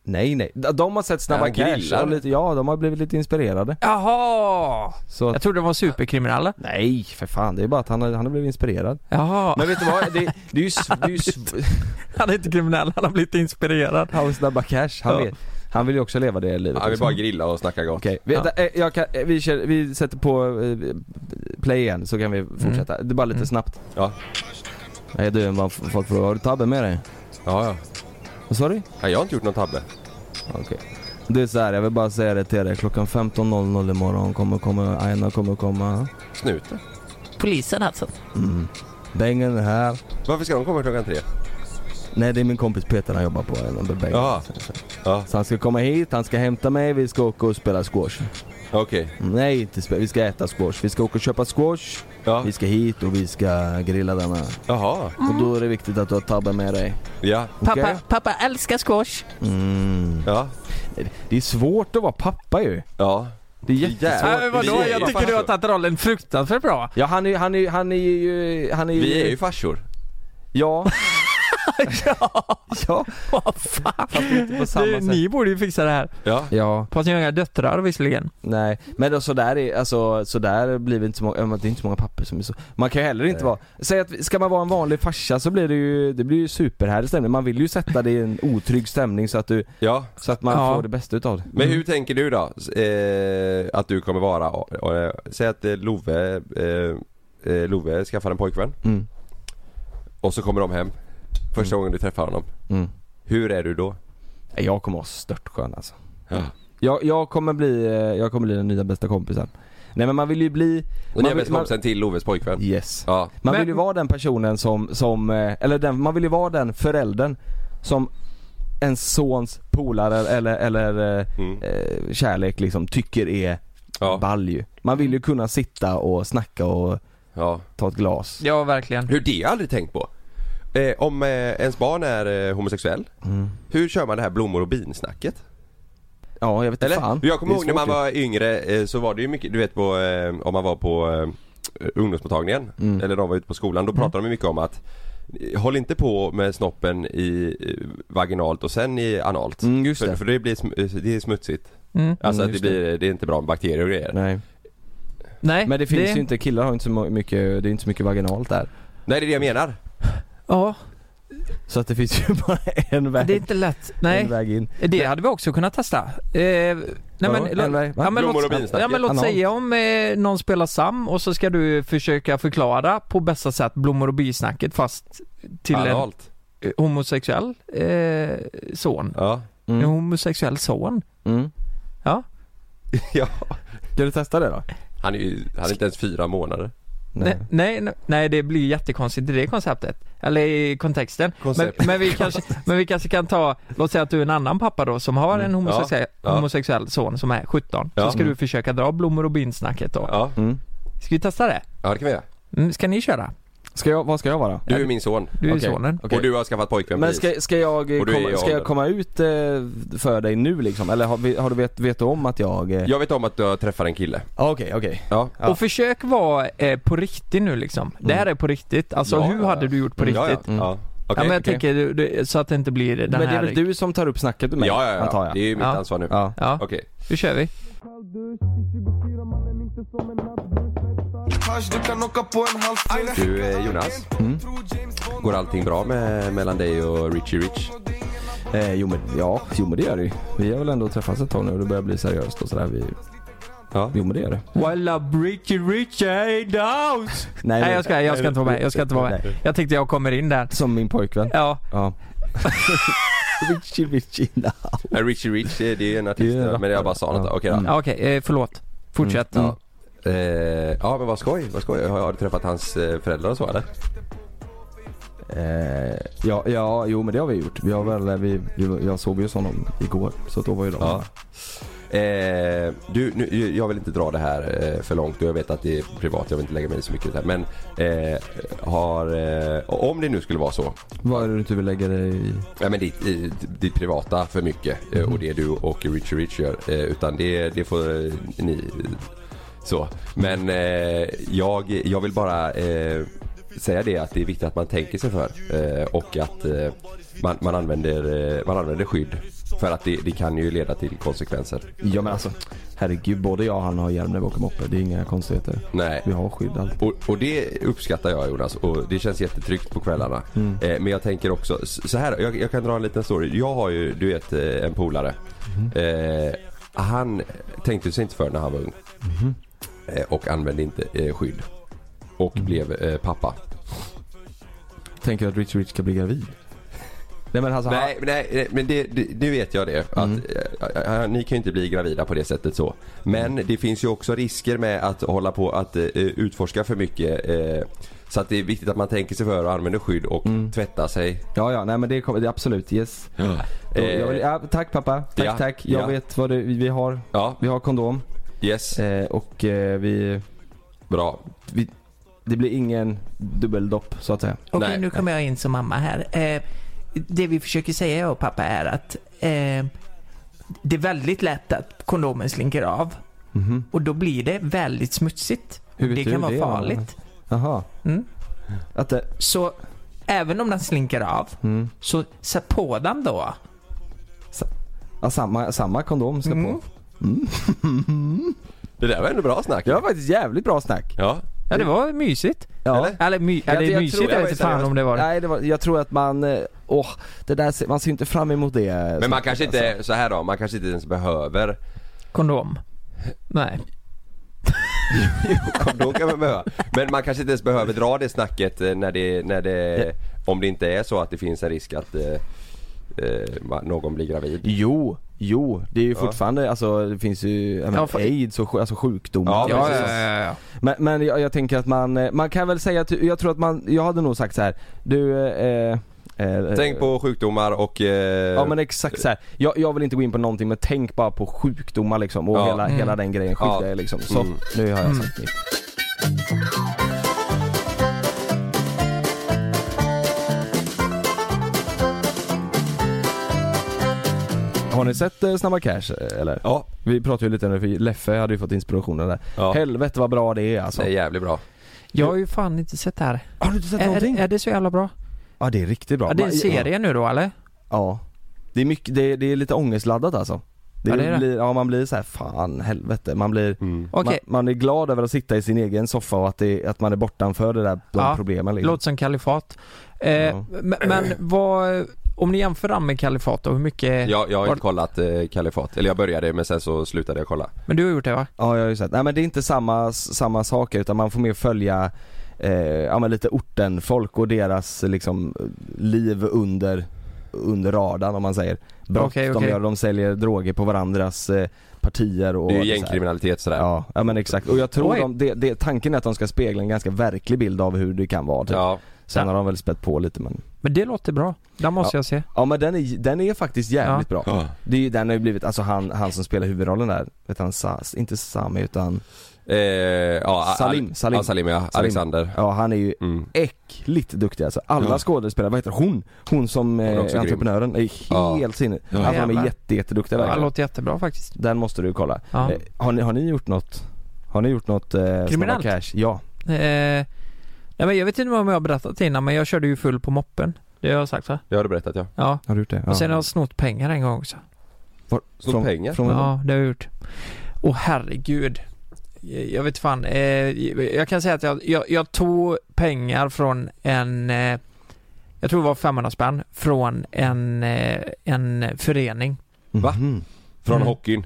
S2: Nej nej, de har sett Snabba
S1: Ja,
S2: Cash
S1: grillar.
S2: och lite, ja de har blivit lite inspirerade.
S3: Jaha!
S2: Så
S3: Jag
S2: att,
S3: trodde de var superkriminella.
S2: nej för fan, det är bara att han, har- han har blivit inspirerad.
S3: Jaha.
S2: Men vet du vad, det, det är ju, sv- det är ju sv-
S3: Han är inte kriminell, han har blivit inspirerad.
S2: Han vill snabba cash, han,
S3: Ja.
S2: vill, han vill ju också leva det livet
S1: Han vill
S2: liksom.
S1: bara grilla och snacka gott.
S2: Okej, vi,
S3: Ja.
S2: eh, jag kan, eh, vi, kör, vi sätter på eh, play igen så kan vi fortsätta. Det är bara lite snabbt.
S1: Ja.
S2: Nej du, vad f- folk frågar, har du tabben med dig?
S1: Ja, ja.
S2: Vad sa du?
S1: Nej, jag har inte gjort någon tabbe.
S2: Okej. Det är så här, jag vill bara säga det till dig. Klockan 15.00 imorgon kommer komma, Aina kommer komma.
S1: Snuten.
S3: Polisen alltså.
S2: Bengen är här.
S1: Varför ska de komma klockan tre?
S2: Nej det är min kompis Peter han jobbar på. Aina med Bengen.
S1: Jaha. Ja,
S2: Så han ska komma hit, han ska hämta mig, vi ska åka och spela squash.
S1: okej.
S2: Nej inte spela, vi ska äta squash. Vi ska åka och köpa squash.
S1: Ja,
S2: Vi ska hit och vi ska grilla denna.
S1: jaha.
S2: Och då är det viktigt att du har tabben med dig.
S1: Ja,
S2: Okej?
S3: pappa älskar squash.
S2: Mm.
S1: ja,
S2: Det är svårt att vara pappa ju.
S1: ja.
S2: Det är
S1: jättesvårt.
S3: Nej,
S1: Nej,
S3: men
S1: men
S3: vadå?
S1: vi är
S3: Jag
S1: ju
S3: tycker du har tagit rollen fruktansvärt bra.
S2: Ja han är han är han är ju, han är ju...
S1: Vi är ju farsor.
S2: Ja. ja.
S3: Vad fan?
S2: Fast inte på samma
S3: Du,
S2: sätt.
S3: ni borde ju fixa det här.
S1: Ja.
S2: Ja,
S3: Fast ni har inga döttrar visserligen.
S2: nej. Men då, så där är, alltså så där blir vi inte så många, ja, men det är inte så många papper som är så. Man kan ju heller inte vara, säg att vi- ska man vara en vanlig farsa så blir det ju, det blir ju superhärlig stämning. Man vill ju sätta det i en otrygg stämning så att du,
S1: Ja.
S2: så att man
S3: Ja.
S2: får det bästa utav det.
S1: Men hur tänker du då? S- Eh, att du kommer vara, och, och, säg att eh, Love, eh, eh, Love skaffar en pojkvän
S2: Mm.
S1: och så kommer de hem. Första gången du träffar honom.
S2: Mm.
S1: Hur är du då?
S2: Nej, Jag kommer vara störtskön alltså.
S1: Ja.
S2: Jag, jag kommer bli, eh, jag kommer bli den nya bästa kompisen. Nej men man vill ju bli...
S1: Och ni är
S2: vill-
S1: bästa kompisen till Oves pojkvän?
S2: Yes.
S1: Ja.
S2: Man
S3: Men-
S2: vill ju vara den personen som, som eh, eller den, man vill ju vara den föräldern som en sons polare eller, eller eh,
S1: Mm.
S2: eh, kärlek liksom tycker är
S1: Ja.
S2: ball ju. Man vill ju
S3: Mm.
S2: kunna sitta och snacka och
S1: ja.
S2: ta ett glas.
S3: Ja, verkligen.
S1: Hur det har jag aldrig tänkt på. Eh, om eh, ens barn är eh, homosexuell,
S2: Mm.
S1: hur kör man det här blommor och bin-snacket?
S2: Ja, jag vet inte
S1: Eller?
S2: fan.
S1: Jag kommer
S2: Det är
S1: ihåg när
S2: svårt
S1: man
S2: ju.
S1: var yngre eh, så var det ju mycket, du vet på, eh, om man var på eh, ungdomsmottagningen
S2: Mm.
S1: eller de var ute på skolan, då pratade de mycket om att eh, Håll inte på med snoppen i eh, vaginalt och sen i analt.
S2: Mm, just
S1: för,
S2: det.
S1: för det blir sm- eh, det är smutsigt.
S3: Mm.
S1: Alltså
S2: Mm,
S1: att det
S2: just
S1: blir, det är inte bra med bakterier och grejer. Nej,
S2: Nej.
S3: Nej,
S2: Men det finns ju inte, killar har ju inte så mo- mycket, det är inte så mycket vaginalt där.
S1: det är det jag menar.
S3: Ja,
S2: Så att det finns ju bara en väg,
S3: det är inte lätt.
S2: en
S3: Nej,
S2: väg in.
S3: det hade vi också kunnat testa. Eh, nej, men,
S2: Vadå? En väg- va?
S3: ja, men
S1: Blommor och
S3: låt,
S1: binsnack,
S3: ja, men låt
S2: analt.
S3: säga om eh, någon spelar Sam och så ska du försöka förklara på bästa sätt blommor och bisnacket fast till en
S1: Analt.
S3: eh, homosexuell eh, son.
S1: Ja.
S3: En
S2: Mm.
S3: homosexuell son.
S2: Mm.
S3: Ja.
S1: ja.
S2: Ska du testa det då?
S1: Han är ju, han är inte ens fyra månader.
S3: Nej, nej, nej, nej det blir jättekonstigt i det konceptet. Eller i kontexten. Men,
S1: Koncept.
S3: men, vi kanske, men vi kanske kan ta, låt säga att du är en annan pappa då som har en homosexuell,
S1: Mm. ja.
S3: homosexuell son som är 17.
S1: Ja.
S3: Så ska du försöka dra blommor och bin-snacket då.
S1: Ja.
S2: Mm.
S3: Ska vi testa det?
S1: ja, det kan vi göra.
S3: Mm, ska ni köra?
S2: Ska jag, vad ska jag vara?
S1: Du är min son.
S3: Du är
S2: Okej.
S3: sonen.
S2: Okej.
S1: Och du har skaffat pojkvän
S2: Men
S1: precis.
S2: ska, ska, jag, eh,
S1: Och du är i
S2: komma, ska
S1: åldern.
S2: jag komma ut eh, för dig nu liksom? Eller har, vi, har du vet, vet du om att jag... eh,
S1: Jag vet om att du har träffat en kille.
S2: Ja, Okej, okej.
S1: Ja.
S2: Ja.
S3: Och försök vara eh, på riktigt nu liksom. Det här är på riktigt. Alltså
S1: Ja,
S3: hur
S1: ja, ja.
S3: hade du gjort på
S1: Ja, ja.
S3: riktigt? Ja,
S1: ja. Okej.
S3: men jag
S2: okej.
S3: tänker du, du, så att det inte blir den
S2: Men det
S3: här...
S2: är väl du som tar upp snacket med mig?
S1: ja, ja,
S2: Antar
S1: ja.
S2: jag.
S1: Det är ju mitt
S3: Ja.
S1: ansvar nu.
S2: Ja.
S3: Ja,
S1: Okej.
S3: nu kör vi.
S4: Hasch, du kan åka på en halv fest.
S1: Du eh, Jonas, går allting bra med, mellan dig och Richie Rich?
S2: Eh, jo, men, ja, jo men det gör det ju. Vi har väl ändå träffats ett tag nu och det börjar bli seriöst och sådär. Vi,
S1: Ja.
S2: jo men det gör det.
S3: Walla Bricky Rich ain't out! Nej jag ska, jag ska inte vara med, jag ska inte vara med. Jag tänkte jag kommer in där.
S2: Som min pojkvän.
S3: Ja,
S2: Ja. Richie Richie now.
S1: Nej, Eh, Richie Rich det det är en artist,
S2: Det är en
S1: ja, men jag bara sa något.
S2: rappare.
S1: Okej
S2: Mm.
S1: då.
S3: ja, okej, eh, förlåt. Fortsätt. Mm.
S1: Ja. Eh, ja men vad skoj, vad skoj. Har, har du träffat hans eh, föräldrar och så eller?
S2: Eh, ja, ja, jo men det har vi gjort. Vi har väl, eh, vi, vi- jag såg ju honom igår, så att då var ju de
S1: Ja. Eh, du, nu, jag vill inte dra det här eh, för långt och jag vet att det är privat, jag vill inte lägga mig i så mycket i det här. Men eh, har, eh, om det nu skulle vara så,
S2: Vad är det du inte vill lägga dig i?
S1: Ja, men ditt, i- ditt privata för mycket eh, och det du och Richie Rich gör. eh, Utan det, det får eh, ni eh, så. Men eh, jag, jag vill bara eh, säga det att det är viktigt att man tänker sig för. eh, Och att eh, man, man, använder, eh, man använder skydd. För att det, det kan ju leda till konsekvenser.
S2: Ja men alltså, herregud både jag och han har hjälm när vi åker moppe. Det är inga konstigheter.
S1: Nej.
S2: Vi har skydd allt.
S1: Och, och det uppskattar jag Jonas och det känns jättetryggt på kvällarna.
S2: Mm.
S1: Eh, men jag tänker också s- så här, jag, jag kan dra en liten story. Jag har ju, du vet, eh, en polare.
S2: Mm.
S1: Eh, han tänkte sig inte för när han var ung.
S2: Mhm.
S1: Eh, och använde inte eh, skydd. Och
S2: Mm.
S1: blev eh, pappa.
S2: Tänker du att Richie Rich ska bli gravid? Nej men alltså,
S1: Nej, men nej, nej, men det, det, nu vet jag det. Att,
S2: Mm.
S1: eh, eh, ni kan ju inte bli gravida på det sättet så. Men
S2: Mm.
S1: det finns ju också risker med att hålla på att eh, utforska för mycket. Eh, så att det är viktigt att man tänker sig för och använder skydd och
S2: Mm.
S1: tvättar sig.
S2: han, ja ja, nej men det kommer, det är absolut, yes. Då,
S1: Eh,
S2: jag vill, ja, tack pappa, tack
S1: ja,
S2: tack. Jag
S1: ja.
S2: vet vad det, vi vi har.
S1: Ja,
S2: Vi har kondom
S1: yes.
S2: eh, och eh, vi,
S1: Bra.
S2: vi, det blir ingen dubbeldopp så att säga.
S3: Okej,
S1: Nej.
S3: nu kommer jag in som mamma här. Eh, det vi försöker säga jag och pappa är att eh, det är väldigt lätt att kondomen slinker av. Och då blir det väldigt smutsigt.
S2: Hur vet
S3: det
S2: du
S3: kan vara
S2: det, mamma?
S3: farligt.
S2: Jaha.
S3: Mm.
S2: Att det,
S3: Så även om den slinker av, så sätt på den då.
S2: ja, samma, samma kondom ska
S3: Mm.
S2: på.
S1: Det där var ändå bra snack.
S2: Det var faktiskt jävligt bra snack.
S1: Ja.
S3: Ja, det var mysigt.
S2: Ja.
S1: Eller?
S3: Eller, my-
S2: Jag-
S3: eller
S2: jag
S3: mysigt,
S2: tror-
S1: jag
S3: jag
S1: var
S3: vet inte fan
S1: seriös.
S3: om det var det.
S2: Nej, det var, jag tror att man, eh, åh, det där, ser- man ser inte fram emot det. eh, alltså.
S1: Men man kanske inte, så här då, man kanske inte ens behöver.
S3: Kondom. Nej.
S1: Kondom kan man behöva. Men man kanske inte ens behöver dra det snacket eh, när det, när det om det inte är så att det finns en risk att eh, eh, ma- någon blir gravid.
S2: Jo, Jo, det är ju
S1: Ja.
S2: fortfarande, alltså det finns ju, jag menar,
S3: Ja, för-
S2: aids och sj- alltså sjukdomar
S1: Ja,
S3: Ja, ja,
S1: precis.
S3: ja, ja, ja.
S2: Men, men jag, jag tänker att man, eh, man kan väl säga att, jag tror att man, jag hade nog sagt så här. du eh, eh,
S1: Tänk på sjukdomar och... Eh,
S2: Ja men exakt så här. Jag, jag vill inte gå in på någonting men tänk bara på sjukdomar liksom och
S1: Ja.
S2: hela,
S3: Mm.
S2: hela den grejen,
S1: Ja.
S2: sjukgrejer liksom. Så,
S1: Mm.
S2: nu har jag
S3: Mm.
S2: sagt mitt. Har ni sett eh, Snabba Cash eh, eller?
S1: Ja,
S2: Vi pratade ju lite om det för Leffe hade ju fått inspirationen där.
S1: ja.
S2: Helvete vad bra det är alltså.
S1: det är jävligt bra.
S3: Jag har ju fan inte sett det här.
S2: Har du inte sett
S3: Är,
S2: någonting?
S3: är, är det så jävla bra?
S2: ja det är riktigt bra.
S3: Ja, det är en
S2: Man-
S3: serie nu då eller?
S2: Ja Det är mycket, det är, det är lite ångestladdat alltså det
S3: Ja, det är det.
S2: Blir, ja man blir så här, fan helvete, man blir
S3: Okej,
S2: man, man är glad över att sitta i sin egen soffa och att, det, att man är bortanför det där bland
S3: Ja,
S2: problemen liksom.
S3: låter som kalifat. Eh,
S2: Ja.
S3: Men, men vad, om ni jämför den med kalifat då, hur mycket?
S1: Jag, jag har
S3: Var-
S1: inte kollat eh, Kalifat, eller jag började men sen så slutade jag kolla.
S3: Men du har gjort det va?
S2: Ja jag har ju sett, nej men det är inte samma, samma sak utan man får mer följa eh, ja men lite ortenfolk och deras liksom liv under, under radarn om man säger Brott
S3: Okej,
S2: de
S3: okej.
S2: gör, de säljer droger på varandras eh, partier och
S1: Det är ju
S2: så här.
S1: gängkriminalitet sådär.
S2: Ja, ja men exakt. Och jag tror
S3: Oj.
S2: de, det, det, tanken är att de ska spegla en ganska verklig bild av hur det kan vara typ.
S1: Ja.
S2: Sen har de väl spett på lite men
S3: Men det låter bra. Den måste jag se.
S2: Ja men den är, den är faktiskt jävligt bra.
S1: Ja.
S2: Det är, ju- den har ju blivit, alltså han, han som spelar huvudrollen där, vet han, Sa, inte Sami utan,
S1: Eh, ja,
S2: Salim,
S1: Al-
S2: Salim.
S1: Ja, Salim ja. Alexander.
S2: ja han är ju
S1: Mm.
S2: äckligt duktig alltså. Alla
S1: Ja.
S2: skådespelare, vad heter hon? Hon som
S1: är
S2: eh,
S1: också grym.
S2: entreprenören, är
S1: Ja.
S2: helt sinnig.
S1: Ja.
S2: Alltså, de är
S3: Jävlar.
S2: jätte, jätteduktiga
S3: Ja, det
S2: verkligen.
S3: låter jättebra faktiskt.
S2: Den måste du kolla.
S3: Ja.
S2: Eh, har, ni, har ni gjort något? Har ni gjort något eh, Snabba
S3: Kriminellt?
S2: Cash? Ja.
S3: Eh, nej men jag vet inte om jag har berättat innan men jag körde ju full på moppen. Det har jag sagt va?
S1: Jag har du berättat ja.
S3: Ja.
S2: Har du gjort det?
S3: Och sen har jag snott pengar en gång också.
S2: Var-
S1: Snott pengar?
S2: Från,
S3: Ja, det har jag gjort. Åh herregud. Jag jag vet fan. Eh, jag kan säga att jag, jag, jag tog pengar från en, eh, jag tror det var 500 spänn, från en, eh, en förening.
S1: Va?
S2: Mhm.
S1: Från
S3: Mm.
S1: hockeyn.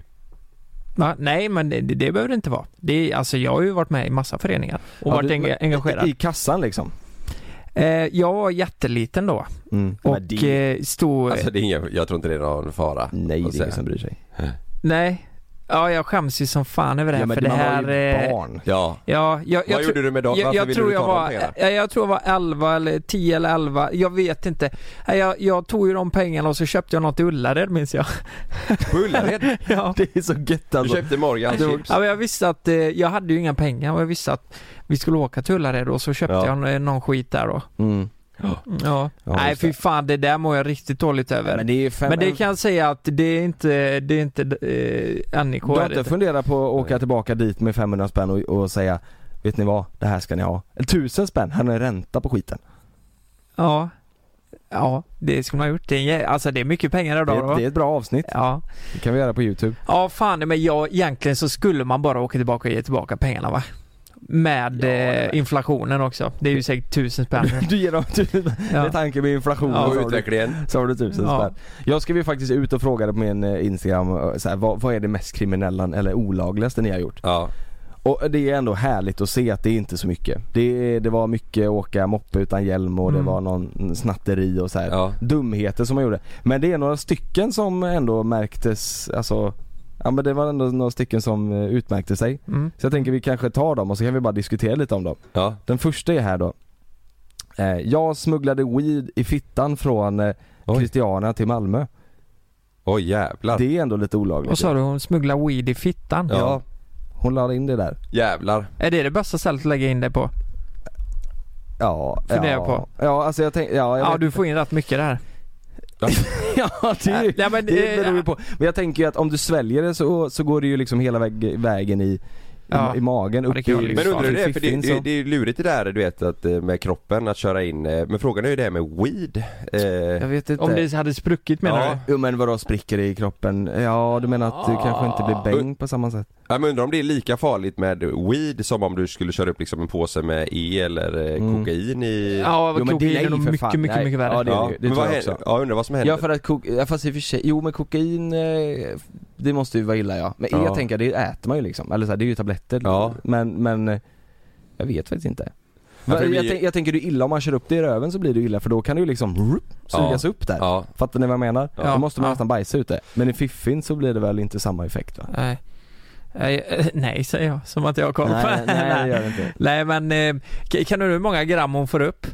S3: Va? Nej, men det, det behöver det inte vara. Det, är- alltså jag har ju varit med i massa föreningar och
S2: Ja,
S3: varit
S2: du-
S3: enga- engagerad.
S2: I kassan liksom?
S3: Eh, jag var jätteliten då
S2: Mm.
S3: och
S2: Men det,
S3: eh, stod...
S1: Alltså det är ingen, jag tror inte det är någon fara.
S2: nej det
S1: och
S2: är
S1: så-
S2: ingen som bryr sig.
S3: Nej. Ja, jag skäms ju som fan över det här
S2: men
S3: för det
S2: man
S3: här...
S2: var ju
S3: eh,
S2: barn.
S1: Ja.
S3: Ja, jag, jag
S1: Vad
S3: tror-
S1: gjorde du med dem?
S3: Jag,
S1: Varför
S3: jag
S1: ville
S3: tror
S1: du ta
S3: jag
S1: de
S3: var, e-
S1: pengarna?
S3: jag, jag tror jag var 11 eller 10 eller 11, jag vet inte. Nej, Jag, jag tog ju de pengarna och så köpte jag något i Ullared minns jag.
S1: På Ullared?
S3: ja.
S2: Det är så gött
S1: Du
S2: alltså.
S1: köpte Morgan chips.
S3: ja men jag visste att, eh, jag hade ju inga pengar och jag visste att vi skulle åka till Ullared och så köpte
S1: Ja.
S3: jag eh, någon skit där då.
S2: Mm.
S3: Ja.
S2: Ja,
S3: Nej
S2: just det.
S3: fy fan, det där mår jag riktigt dåligt över. Men
S2: det är ju
S3: det,
S2: fem...
S3: kan jag säga att det är inte, det är inte eh, NIK
S2: Du har
S3: är det
S2: inte
S3: inte.
S2: funderat på att åka tillbaka dit med 500 spänn och, och säga Vet ni vad? Det här ska ni ha. Eller Tusen spänn, här är ränta på skiten.
S3: Ja. Ja, det skulle man ha gjort. Det är, en jä- alltså det är mycket pengar
S2: Det
S3: idag
S2: är,
S3: då.
S2: det är ett bra avsnitt.
S3: Ja.
S2: Det kan vi göra på youtube.
S3: Ja fan, men jag, egentligen så skulle man bara åka tillbaka och ge tillbaka pengarna va? Med
S2: Ja, det Mm. är
S3: eh, inflationen också. Det är ju säkert tusen spänn.
S2: Du ger dem tusen
S3: Ja.
S2: Med tanke på inflationen
S3: Ja.
S1: Och
S2: så, har du,
S1: utvecklingen.
S2: så har du tusen
S3: Ja.
S2: spänn. Jag skrev ju faktiskt ut och frågade på min eh, Instagram eh, så här, vad, vad är det mest kriminella eller olagligaste ni har gjort?
S1: Ja.
S2: Och det är ändå härligt att se att det är inte så mycket. Det, det var mycket åka moppe utan hjälm och
S3: Mm.
S2: det var någon snatteri och så här.
S1: Ja.
S2: Dumheter som man gjorde. Men det är några stycken som ändå märktes, alltså Ja men det var ändå några stycken som eh, utmärkte sig.
S3: Mm.
S2: Så jag tänker vi kanske tar dem och så kan vi bara diskutera lite om dem.
S1: Ja.
S2: Den första är här då. Eh, jag smugglade weed i fittan från eh,
S1: Oj.
S2: Christiana till Malmö.
S1: Oj jävlar.
S2: Det är ändå lite olagligt.
S3: Och så har du hon smugglar weed i fittan.
S2: ja. Hon lade in det där.
S1: Jävlar.
S3: Är det det bästa stället att lägga in det på?
S2: Ja.
S3: Funderar
S2: ja.
S3: på.
S2: Ja alltså jag tänkte, ja, jag
S3: Ja
S2: vet
S3: du får in rätt mycket där.
S2: Ja det,
S3: Nej, nej, men,
S2: det
S3: eh,
S2: beror ju på. Men jag tänker ju att om du sväljer det så, så går det ju liksom hela väg, vägen i,
S3: Ja.
S2: i, i magen
S3: Ja,
S2: upp
S3: det kan jag
S2: i-
S3: lyssna
S1: Men undrar du
S2: i
S1: det? För det,
S2: fiffin,
S1: det,
S2: så-
S1: det är ju lurigt det där du vet att eh, med kroppen att köra in. eh, Men frågan är ju det här med weed.
S2: Jag
S1: Eh,
S2: vet inte.
S3: Om det hade spruckit menar
S1: Ja.
S3: du?
S2: Jo men vadå spricker det i kroppen? Ja du menar att du kanske inte blir bäng på samma sätt?
S1: ja, men undrar om det är lika farligt med weed som om du skulle köra upp liksom en påse med E eller eh,
S2: Mm.
S1: kokain i...
S3: Ja,
S2: Jo, men det-
S3: kokain är
S2: nej,
S3: nog
S2: för
S3: mycket,
S2: fan,
S3: mycket, mycket,
S2: nej.
S3: värre.
S2: Ja, det är
S1: Ja,
S2: ju-
S1: men
S2: tror
S1: vad
S2: jag
S1: händer?
S2: också.
S1: Ja, undrar vad som händer.
S2: Ja för att kok- ja, fast i och för sig, jo men kokain, eh, det måste ju vara illa ja. Men
S1: Ja.
S2: jag tänker det äter man ju liksom, eller så här, det är ju tabletter.
S1: Ja.
S2: Men, men eh, jag vet faktiskt inte.
S1: Ja, för det
S2: jag,
S1: blir ju-
S2: tänk- jag tänker det är illa om man kör upp det i röven så blir det ju illa för då kan det ju liksom rup, sugas
S1: Ja.
S2: upp där.
S1: Ja.
S2: Fattar ni vad jag menar?
S3: Ja.
S2: Då måste man
S3: Ja.
S2: nästan bajsa ut det. Men i fiffin så blir det väl inte samma effekt va?
S3: Nej. Nej, eh, nej, säger jag, som att jag har koll på
S2: Nej, nej det gör det inte.
S3: Nej, men eh, k- kan du hur många gram hon får upp?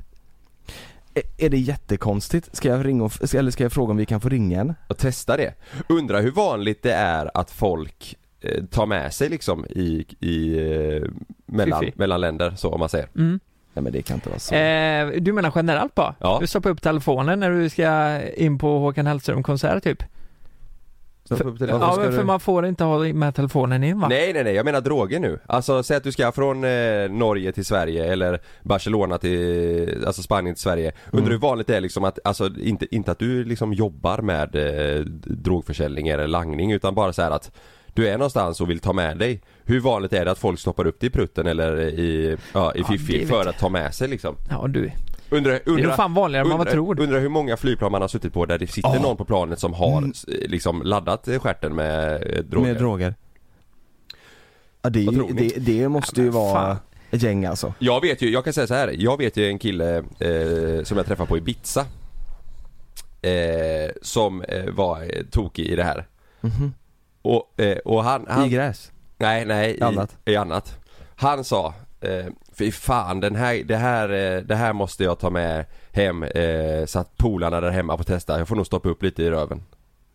S2: Är, är det jättekonstigt? Ska jag ringa och, f- eller ska jag fråga om vi kan få ringa henne?
S1: Och testa det. Undrar hur vanligt det är att folk eh, tar med sig liksom i, i eh, mellan,
S3: Fiffi.
S1: mellan länder så om man säger.
S3: Mm.
S2: Nej men det kan inte vara så.
S3: Eh, du menar generellt bara?
S1: Ja.
S3: Du stoppar upp telefonen när du ska in på Håkan Hellström-konsert typ?
S1: Stoppa upp telefonen.
S3: Ja,
S1: Varför
S3: men
S1: ska
S3: för
S1: du-
S3: man får inte ha med telefonen in va?
S1: Nej nej nej, jag menar droger nu. Alltså säg att du ska från eh, Norge till Sverige eller Barcelona till, alltså Spanien till Sverige. Undrar hur vanligt det är liksom att, alltså inte, inte att du liksom jobbar med eh, drogförsäljning eller langning utan bara så här att du är någonstans och vill ta med dig. Hur vanligt är det att folk stoppar upp det i prutten eller i, ja, i
S3: Ja, det
S1: fiffi
S3: vet
S1: för
S3: jag.
S1: att ta med sig liksom?
S3: Ja, du.
S1: Undrar,
S3: Det är
S1: undrar,
S3: nog fan vanligare än vad man
S1: undrar,
S3: tror.
S1: undrar hur många flygplan man har suttit på där det sitter någon på planet som har s- liksom laddat eh, stjärten med eh, droger.
S2: Med droger? Ja det, är
S1: Vad
S2: ju-
S1: tror ni?
S2: det, det måste
S3: Ja,
S2: ju
S3: men
S2: vara
S3: fan.
S2: ett gäng alltså.
S1: Jag vet ju, jag kan säga så här. Jag vet ju en kille eh, som jag träffade på Ibiza eh, Som eh, var eh, tokig i det här Och, eh, och han, han
S2: Mhm. I gräs?
S1: Nej, nej, i,
S2: annat.
S1: i annat Han sa eh, Fy fan, den här, det, här, eh, det här måste jag ta med hem eh, Så att polarna där hemma får testa Jag får nog stoppa upp lite i röven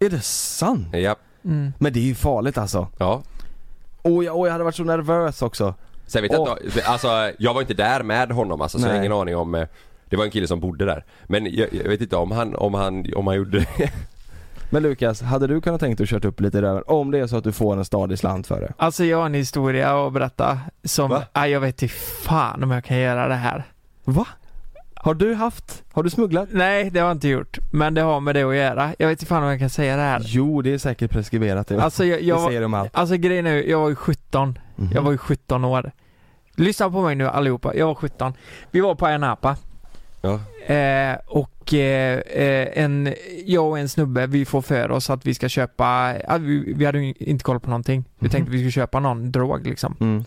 S2: Är det sant?
S1: Ja,
S3: Mm.
S2: Men det är ju farligt alltså.
S1: ja
S2: Åh jag, åh, jag hade varit så nervös också.
S1: Sen vet jag inte, alltså jag var inte där med honom alltså, så jag har
S2: Nej.
S1: ingen aning om eh, Det var en kille som bodde där Men jag, jag vet inte om han, om han, om han gjorde
S2: Men Lukas, hade du kunnat tänkt dig att kört upp lite i röven? Om det är så att du får en stadig slant för det.
S3: Alltså jag har en historia att berätta som,
S2: Va?
S3: Nej, jag vet inte fan om jag kan göra det här.
S2: Va? Har du haft? Har du smugglat?
S3: Nej, det har jag inte gjort. Men det har med det att göra. Jag vet inte fan om jag kan säga det här.
S2: Jo, det är säkert preskriberat det.
S3: Alltså jag, jag
S2: det
S3: var,
S2: säger de allt.
S3: Alltså grejen är ju, jag var ju 17.
S2: Mhm.
S3: Jag var ju 17 år. Lyssna på mig nu allihopa, jag var 17. Vi var på Ayia Napa.
S1: Ja.
S3: Eh, och eh, eh, en, jag och en snubbe, vi får för oss att vi ska köpa, ja, vi, vi hade ju inte koll på någonting.
S2: Mhm.
S3: Vi tänkte vi skulle köpa någon drog liksom.
S2: Mm.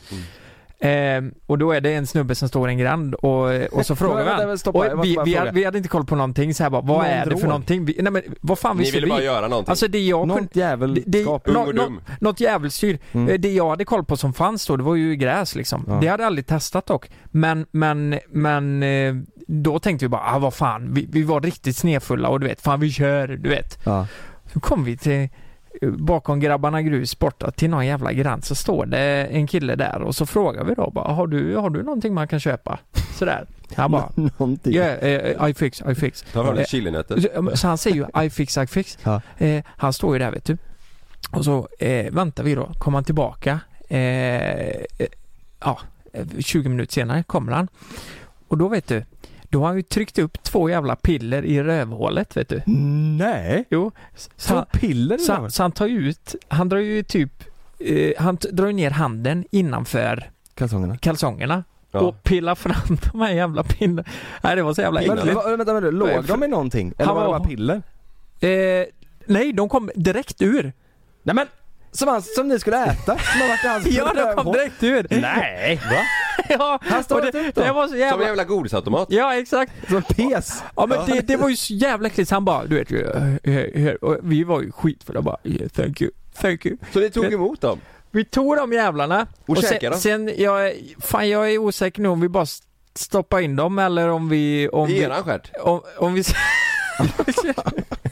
S3: Eh, och då är det en snubbe som står i en gränd och, och så frågar vi
S2: Vänta,
S3: han.
S2: vänta, stoppa.
S3: Och
S2: Jag måste
S3: vi,
S2: bara
S3: vi,
S2: fråga.
S3: hade, vi hade inte koll på någonting så här bara, vad
S2: Någon
S3: är det för
S2: drog?
S3: någonting? Vi, nej men vad fan
S1: Ni
S3: visste
S1: ville
S3: vi?
S1: bara göra någonting
S3: Alltså det jag kunde,
S2: Något jävel
S3: det, det,
S2: skap.
S1: Ung och
S3: nå- nå-
S1: dum.
S3: något djävulstyr.
S2: Mm.
S3: Eh, Det jag hade koll på som fanns då, det var ju gräs liksom.
S2: Ja.
S3: Det hade jag aldrig testat dock. Men, men, men eh, då tänkte vi bara, ah, vad fan, vi, vi var riktigt snefulla och du vet, fan vi kör, du vet.
S2: Ja.
S3: Så kom vi till eh, bakom grabbarna grus borta till någon jävla gräns så står det en kille där och så frågar vi då bara, har du, har du någonting man kan köpa? Sådär. Han bara,
S2: Någonting.
S3: yeah, eh, I fix, I fix.
S1: Ta fram
S3: Eh,
S1: lite chilinötter
S3: så, så han säger ju I fix, I fix.
S2: Ja.
S3: Eh, han står ju där vet du. Och så eh, väntar vi då. Kommer han tillbaka? Eh, eh, ja, eh, 20 minuter senare kommer han. Och då vet du, då har han ju tryckt upp två jävla piller i rövhålet vet du.
S2: Nej!
S3: Jo. Så, så,
S2: Så
S3: han,
S2: piller i
S3: så,
S2: röven?
S3: han- så han tar ju ut, han drar ju typ, eh, han t- drar ju ner handen innanför
S2: Kalsongerna.
S3: kalsongerna
S1: ja.
S3: och pillar fram de här jävla pinnen. Nej det var så jävla
S1: Men-
S2: Men,
S3: äckligt.
S2: va- vänta, vänta, låg de i någonting? Eller
S3: Han
S2: var det
S3: var-
S2: bara piller?
S3: Eh, nej, de kom direkt ur.
S2: Nej men! Som, han, som ni skulle äta? Som har varit i hans
S3: Ja, de kom
S2: rövhål.
S3: direkt ur.
S2: Nej! Va?
S3: ja,
S2: Han står
S3: och
S2: inte
S3: det,
S2: ut då.
S3: det var så
S1: Som en
S3: jävla...
S1: jävla godisautomat
S3: Ja, exakt.
S2: Som pes?
S3: Ja men det, det var ju så jävla äckligt så han bara, du vet ju, eh, eh, eh, och vi var ju skitfulla bara, yeah, thank you, thank you.
S1: Så ni tog emot dem?
S3: Vi tog de jävlarna.
S1: Och käkade
S3: sen,
S1: dem?
S3: sen, jag, är- fan jag är osäker nu om vi bara st- stoppar in dem eller om vi... Om
S1: I
S3: vi,
S1: eran stjärt?
S3: om, om vi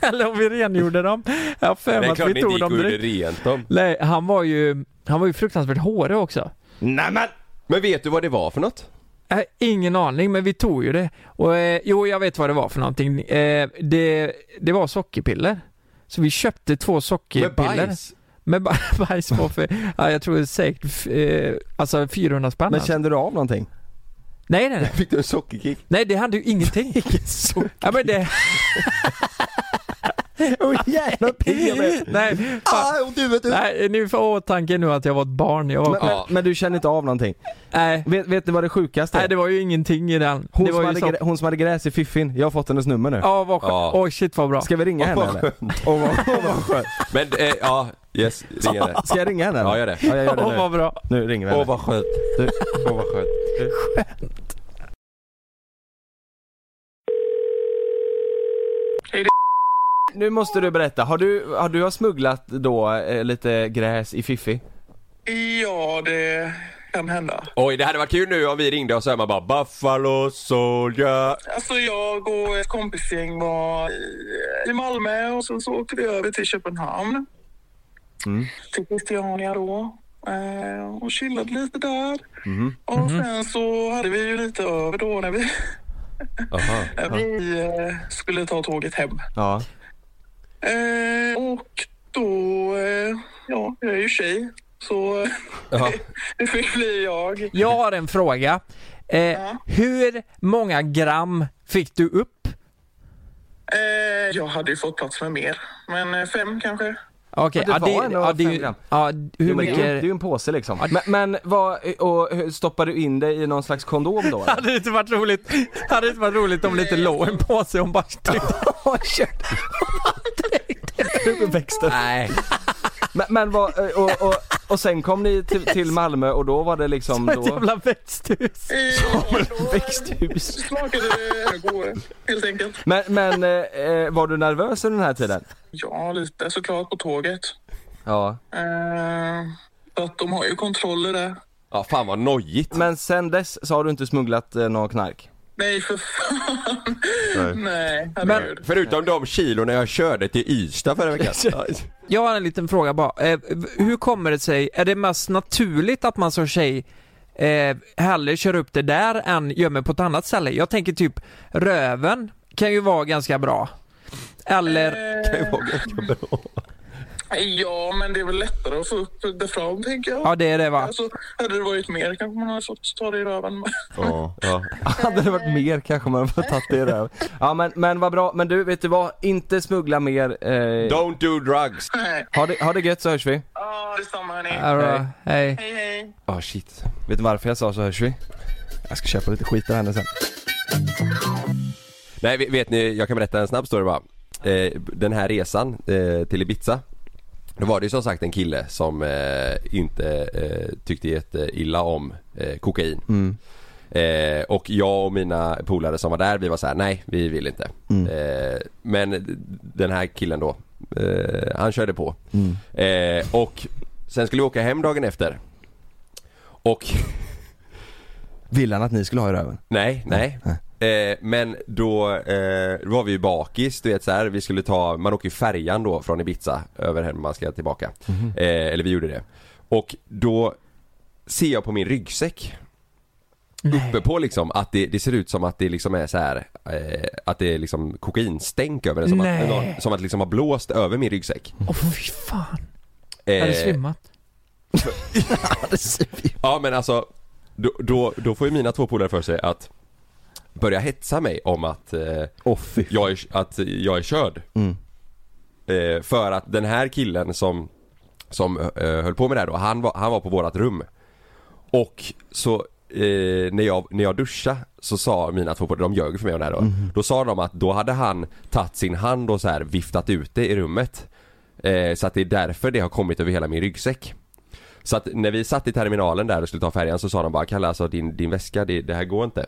S3: eller om vi rengjorde dem. Jag har för
S1: Det
S3: mig
S1: är
S3: att
S1: klart ni
S3: vi
S1: inte
S3: tog
S1: gick
S3: dem
S1: och gjorde
S3: direkt.
S1: rent dem
S3: Nej, han var ju, han var ju fruktansvärt hårig också.
S2: Nej men!
S1: Men vet du vad det var för något?
S3: Äh, ingen aning, men vi tog ju det. Och, eh, jo, jag vet vad det var för någonting. Eh, det, det var sockerpiller. Så vi köpte två
S1: Med
S3: sockerpiller.
S1: bajs?
S3: Med ba- bajs på för, ja, jag tror säkert, f- eh, alltså 400 spänn.
S2: Men
S3: alltså.
S2: kände du av någonting?
S3: Nej, nej, nej.
S1: Fick du en sockerkick?
S3: Nej, det hade ju ingenting. ja, men det,
S2: Åh jävla piller!
S3: nej, fan.
S1: Ah, ont i huvudet!
S3: nej, ni får åtanke nu att jag var ett barn. Jag var,
S2: Men,
S1: Ja.
S2: men, men du känner inte av någonting?
S3: nej,
S2: Vet, vet ni vad det sjukaste
S3: nej,
S2: är?
S3: det var ju ingenting i den.
S2: Hon,
S3: det var
S2: som
S3: ju
S2: hade
S3: så-
S2: grä, hon som hade gräs i fiffin, jag har fått hennes nummer nu.
S3: Ja, vad skönt.
S1: Ja.
S3: Åh shit vad bra.
S2: Ska vi ringa henne
S1: vad
S2: eller? Åh vad, åh, vad skönt.
S1: Men eh, ja, yes, ring henne
S2: Ska jag ringa henne? eller?
S1: Ja, gör det.
S2: Ja, jag gör
S3: Ah. Åh
S2: det
S3: vad bra.
S2: nu. Nu ringer vi
S1: Åh
S2: henne.
S1: vad skönt, åh vad skönt
S2: Nu måste du berätta, har du, har du har smugglat då eh, lite gräs i Fiffi?
S7: Ja, det kan hända.
S1: Oj, det hade varit kul nu om vi ringde och så här man bara Buffalo soldier
S7: Alltså jag och ett kompisgäng var i- i Malmö och sen så åkte vi över till Köpenhamn. Till Christiania då. eh, Och chillade lite där. Och sen så hade vi ju lite över då när vi,
S1: Aha.
S7: när vi eh, skulle ta tåget hem.
S2: Ja.
S7: Eh, Och då, eh, ja, jag är ju tjej. Så
S1: Ja.
S7: det fick bli jag.
S3: Jag har en fråga. Eh, hur många gram fick du upp?
S7: Eh, jag hade ju fått plats med mer, men eh, fem kanske.
S3: Okej,
S2: Ja, det var ändå
S3: ja, det är
S2: fem
S3: ju,
S2: gram.
S3: ja, hur
S2: Jo, men Det är, ju- det är
S3: mycket...
S2: ju en påse liksom. Men, men vad, och hur- stoppar du in det i någon slags kondom då? eller?
S3: Hade det inte varit roligt, hade det inte varit roligt om lite låg på sig och bara
S2: Växten.
S1: Nej
S2: Men, men vad, eh, och, och, och sen kom ni till, till Malmö och då var det liksom
S3: Som ett
S2: då...
S3: jävla växthus.
S7: Som ett
S2: växthus.
S7: Smakade det gode, helt enkelt.
S2: Men, men eh, eh, var du nervös under den här tiden?
S7: Ja, lite såklart på tåget.
S2: Ja.
S7: Eh, så att de har ju kontroller där.
S1: Ja fan vad nojigt
S2: Men sen dess så har du inte smugglat eh, någon knark?
S7: Nej, för fan. Nej, herregud.
S1: Förutom de kilorna jag körde till Ystad förra veckan
S3: Jag har en liten fråga bara. Eh, v- hur kommer det sig, är det mest naturligt att man som tjej eh, hellre kör upp det där än gömmer på ett annat ställe? Jag tänker typ röven kan ju vara ganska bra. Eller,
S7: Ja, men det är väl lättare att få upp det fram, tänker jag.
S3: ja det är det va?
S7: Alltså, hade det varit mer kanske man hade fått ta det i röven.
S1: Ja, ja.
S2: Hade det varit mer kanske man hade fått tagit det där. Ja men, men vad bra, men du vet du vad? Inte smuggla mer. Eh,
S1: Don't do drugs
S7: Nej.
S2: ha, det, ha det gött så hörs vi.
S7: Ja, detsamma hörni.
S3: Alltså, hej.
S7: Hej, hej.
S1: Ah shit
S2: Vet du varför jag sa så hörs vi? Jag ska köpa lite skit av henne sen.
S1: Nej ve- vet ni, jag kan berätta en snabb story bara eh, Den här resan eh, till Ibiza Då var det ju som sagt en kille som eh, inte eh, tyckte jätteilla om eh, kokain eh, Och jag och mina polare som var där, vi var så här: nej vi vill inte eh, Men d- den här killen då, eh, han körde på eh, Och sen skulle vi åka hem dagen efter Och
S2: Vill han att ni skulle ha i röven?
S1: Nej, nej. Eh, men då eh, var vi ju bakis, du vet så här, vi skulle ta, man åker ju färjan då från Ibiza över hem man ska tillbaka. Eh, eller vi gjorde det. Och då ser jag på min ryggsäck uppe på liksom att det, det ser ut som att det liksom är så här eh, att det är liksom kokainstänk över den som
S3: Nej. Mm.
S1: att, någon- som att liksom har blåst över min ryggsäck.
S3: Åh fy fan, jag hade
S1: Eh,
S3: svimmat.
S1: Ja men alltså då, då, då får ju mina två polare för sig att börja hetsa mig om att, eh, jag, är, att jag är körd. Eh, för att den här killen som, som eh, höll på med det här då, han var, han var på vårat rum. Och så eh, när, jag, när jag duschade så sa mina två polare, de ljög för mig om det här då. Då sa de att då hade han tagit sin hand och så här viftat ut det i rummet. Eh, så att det är därför det har kommit över hela min ryggsäck. Så att när vi satt i terminalen där och skulle ta färjan så sa de bara Kalle alltså din, din väska, det, det här går inte.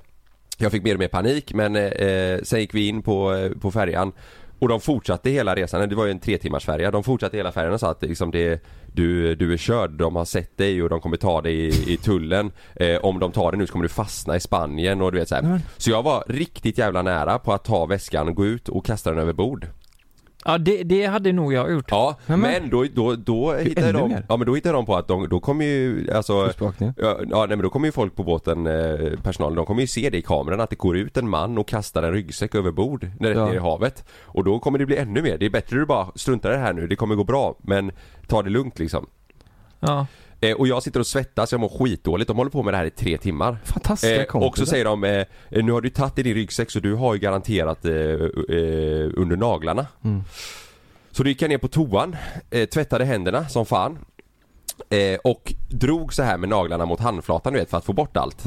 S1: Jag fick mer och mer panik men eh, eh, sen gick vi in på, eh, på färjan och de fortsatte hela resan, det var ju en tre timmars färja. De fortsatte hela färjan och sa att liksom det, du, du är körd, de har sett dig och de kommer ta dig i, i tullen. Eh, om de tar dig nu så kommer du fastna i Spanien och du vet så här. Så jag var riktigt jävla nära på att ta väskan, gå ut och kasta den över bord.
S3: Ja det, det hade nog jag gjort.
S1: Ja, men då, då, då hittade
S2: ännu
S1: de,
S2: mer.
S1: ja men då hittade de på att de, då kommer ju alltså
S2: Kustbevakningen.
S1: Ja, ja nej, men då kommer ju folk på båten, eh, personalen, de kommer ju se det i kameran att det går ut en man och kastar en ryggsäck över bord när
S2: Ja.
S1: ner i havet. Och då kommer det bli ännu mer. Det är bättre du bara struntar i det här nu, det kommer gå bra men ta det lugnt liksom.
S3: Ja.
S1: Eh, och jag sitter och svettas, jag mår skitdåligt. De håller på med det här i tre timmar.
S2: Fantastiska
S1: Eh, och så säger de, eh, nu har du tagit i din ryggsäck så du har ju garanterat eh, eh, under naglarna. Så då gick jag ner på toan, eh, tvättade händerna som fan. Eh, och drog så här med naglarna mot handflatan du vet för att få bort allt.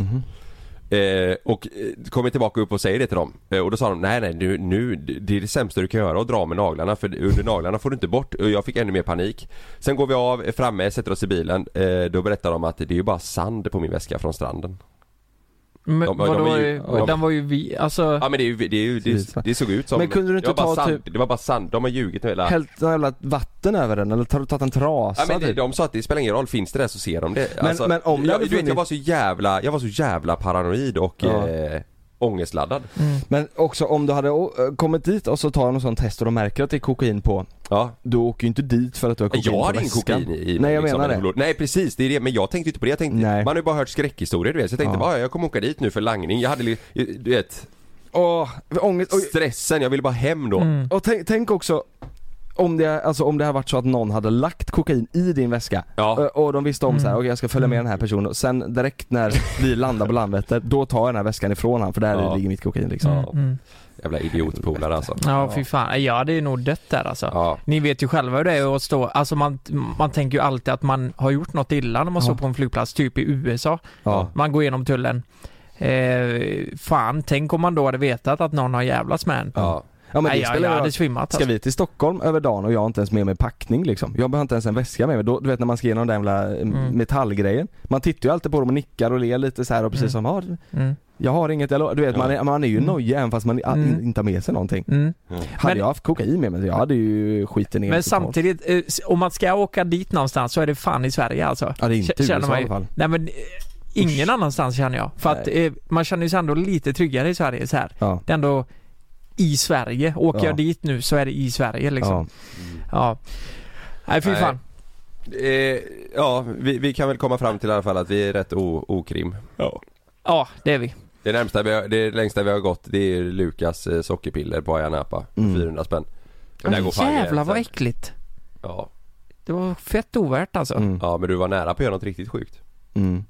S1: Eh, och eh, kommer tillbaka upp och säger det till dem. Eh, och då sa de nej nej nu, nu det är det sämsta du kan göra att dra med naglarna för under naglarna får du inte bort. Och jag fick ännu mer panik. Sen går vi av, är framme, sätter oss i bilen. Eh, då berättar de att det är ju bara sand på min väska från stranden.
S3: Men
S1: De- de
S3: vadå,
S1: är ju-
S3: eh,
S1: de-
S3: den var ju vi, alltså...
S1: Ja men det, är ju, det, är ju, det, det såg ut som
S2: Men kunde du inte
S1: det var bara
S2: ta typ-
S1: sand, Det var bara sand, de har ljugit nu hela
S2: Hällt någon jävla vatten över den eller tar- tagit en trasa
S1: Ja, men det,
S2: typ.
S1: de sa att det spelar ingen roll, finns det där så ser de det. Alltså,
S2: Men- men om det
S1: jag,
S2: hade
S1: du vet, jag
S2: funnits-
S1: var så jävla, jag var så jävla paranoid och
S2: Ja.
S1: eh, ångestladdad.
S2: Men också om du hade å- eh, kommit dit och så tar de en sån test och de märker att det är kokain på
S1: Ja.
S2: Du åker ju inte dit för att du har kokain
S1: Jag
S2: på
S1: hade ingen
S2: väskan.
S1: kokain i i
S2: Nej jag
S1: liksom,
S2: menar
S1: en
S2: det
S1: blod- Nej precis, det är det. Men jag tänkte inte på det. Jag tänkte,
S2: Nej.
S1: man har ju bara hört skräckhistorier du vet. Så jag tänkte
S2: Ja.
S1: bara, "Ah, jag kommer åka dit nu för langning. Jag hade li- du vet,
S2: Åh, ångest, och,
S1: stressen, jag ville bara hem då.
S3: Mm.
S2: och tänk, tänk också om det, alltså om det hade varit så att någon hade lagt kokain i din väska
S1: Ja.
S2: Ö, och de visste om så här,
S3: Mm.
S2: okej jag ska följa med den här personen och sen direkt när vi landar på Landvetter, då tar jag den här väskan ifrån han för där
S1: Ja.
S2: ligger mitt kokain liksom
S1: Ja.
S3: Mm.
S1: Jävla idiotpolare alltså.
S3: Ja, fy fan. Jag hade ju nog dött där alltså.
S1: Ja.
S3: Ni vet ju själva hur det är att stå, alltså man, man tänker ju alltid att man har gjort något illa när man
S2: Ja.
S3: står på en flygplats, typ i USA.
S2: Ja.
S3: Man går igenom tullen. Eh, fan, tänk om man då hade vetat att någon har jävlats med en.
S1: Ja.
S2: Ja men
S3: Nej,
S2: det
S3: jag,
S2: spelar
S3: jag
S2: ingen
S3: hade
S2: roll.
S3: svimmat alltså.
S2: Ska vi till Stockholm över dagen och jag har inte ens med mig packning liksom. Jag behöver inte ens en väska med mig. Då, du vet när man ska igenom den där jävla eh,
S3: Mm.
S2: metallgrejen. Man tittar ju alltid på dem och nickar och ler lite så här och precis som ja,
S3: Mm.
S2: jag har inget, jag lo-" Du vet man, är, man är ju
S3: Mm.
S2: nojig även fast man i-
S3: Mm.
S2: inte har med sig någonting.
S3: Mm.
S2: Hade
S3: Men-
S2: jag haft kokain med mig, jag hade ju skiten ner
S3: Men
S2: totalt.
S3: samtidigt, eh, s- om man ska åka dit någonstans så är det fan i Sverige alltså.
S2: Ja det är inte
S3: K-
S2: USA
S3: känner man
S2: i
S3: ju.
S2: alla fall.
S3: Nej men, eh, ingen annanstans känner jag. För att eh, man känner sig ändå lite tryggare i Sverige så här.
S2: Ja.
S3: Det är ändå i Sverige. Åker
S2: Ja.
S3: jag dit nu så är det i Sverige liksom.
S2: Ja.
S3: Ja. Nej fy
S1: Nej.
S3: fan.
S1: Eh, ja, vi, vi kan väl komma fram till i alla fall att vi är rätt o- okrim.
S3: Ja, det är vi.
S1: Det närmsta vi har, det längsta vi har gått det är Lukas eh, sockerpiller på Ayia Napa.
S2: Mm.
S1: 400 spänn. Och där går
S3: Oh,
S1: fan
S3: jävlar vad
S1: gränsen.
S3: äckligt.
S1: Ja.
S3: Det var fett ovärt alltså.
S2: Mm.
S1: ja, men du var nära på att göra något riktigt sjukt.
S2: Mm.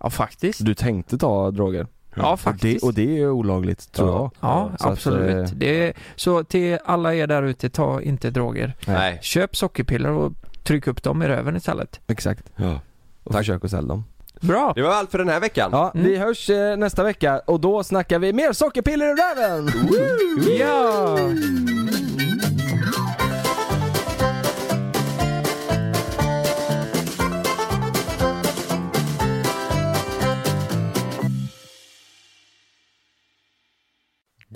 S3: Ja faktiskt.
S2: Så du tänkte ta droger?
S3: Ja
S2: Och det,
S3: faktiskt.
S2: och det är ju olagligt tror
S1: Ja.
S2: jag.
S3: Ja,
S2: Så att,
S3: absolut.
S2: eh,
S3: det är, så till alla er där ute, ta inte droger.
S2: Nej.
S1: Nej.
S3: Köp sockerpiller och tryck upp dem i röven istället.
S2: Exakt.
S1: Ja.
S2: Och försök att sälja dem.
S3: Bra!
S1: Det var allt för den här veckan.
S2: Ja,
S3: Mm.
S2: vi hörs eh, nästa vecka och då snackar vi mer sockerpiller i röven!
S3: Ja!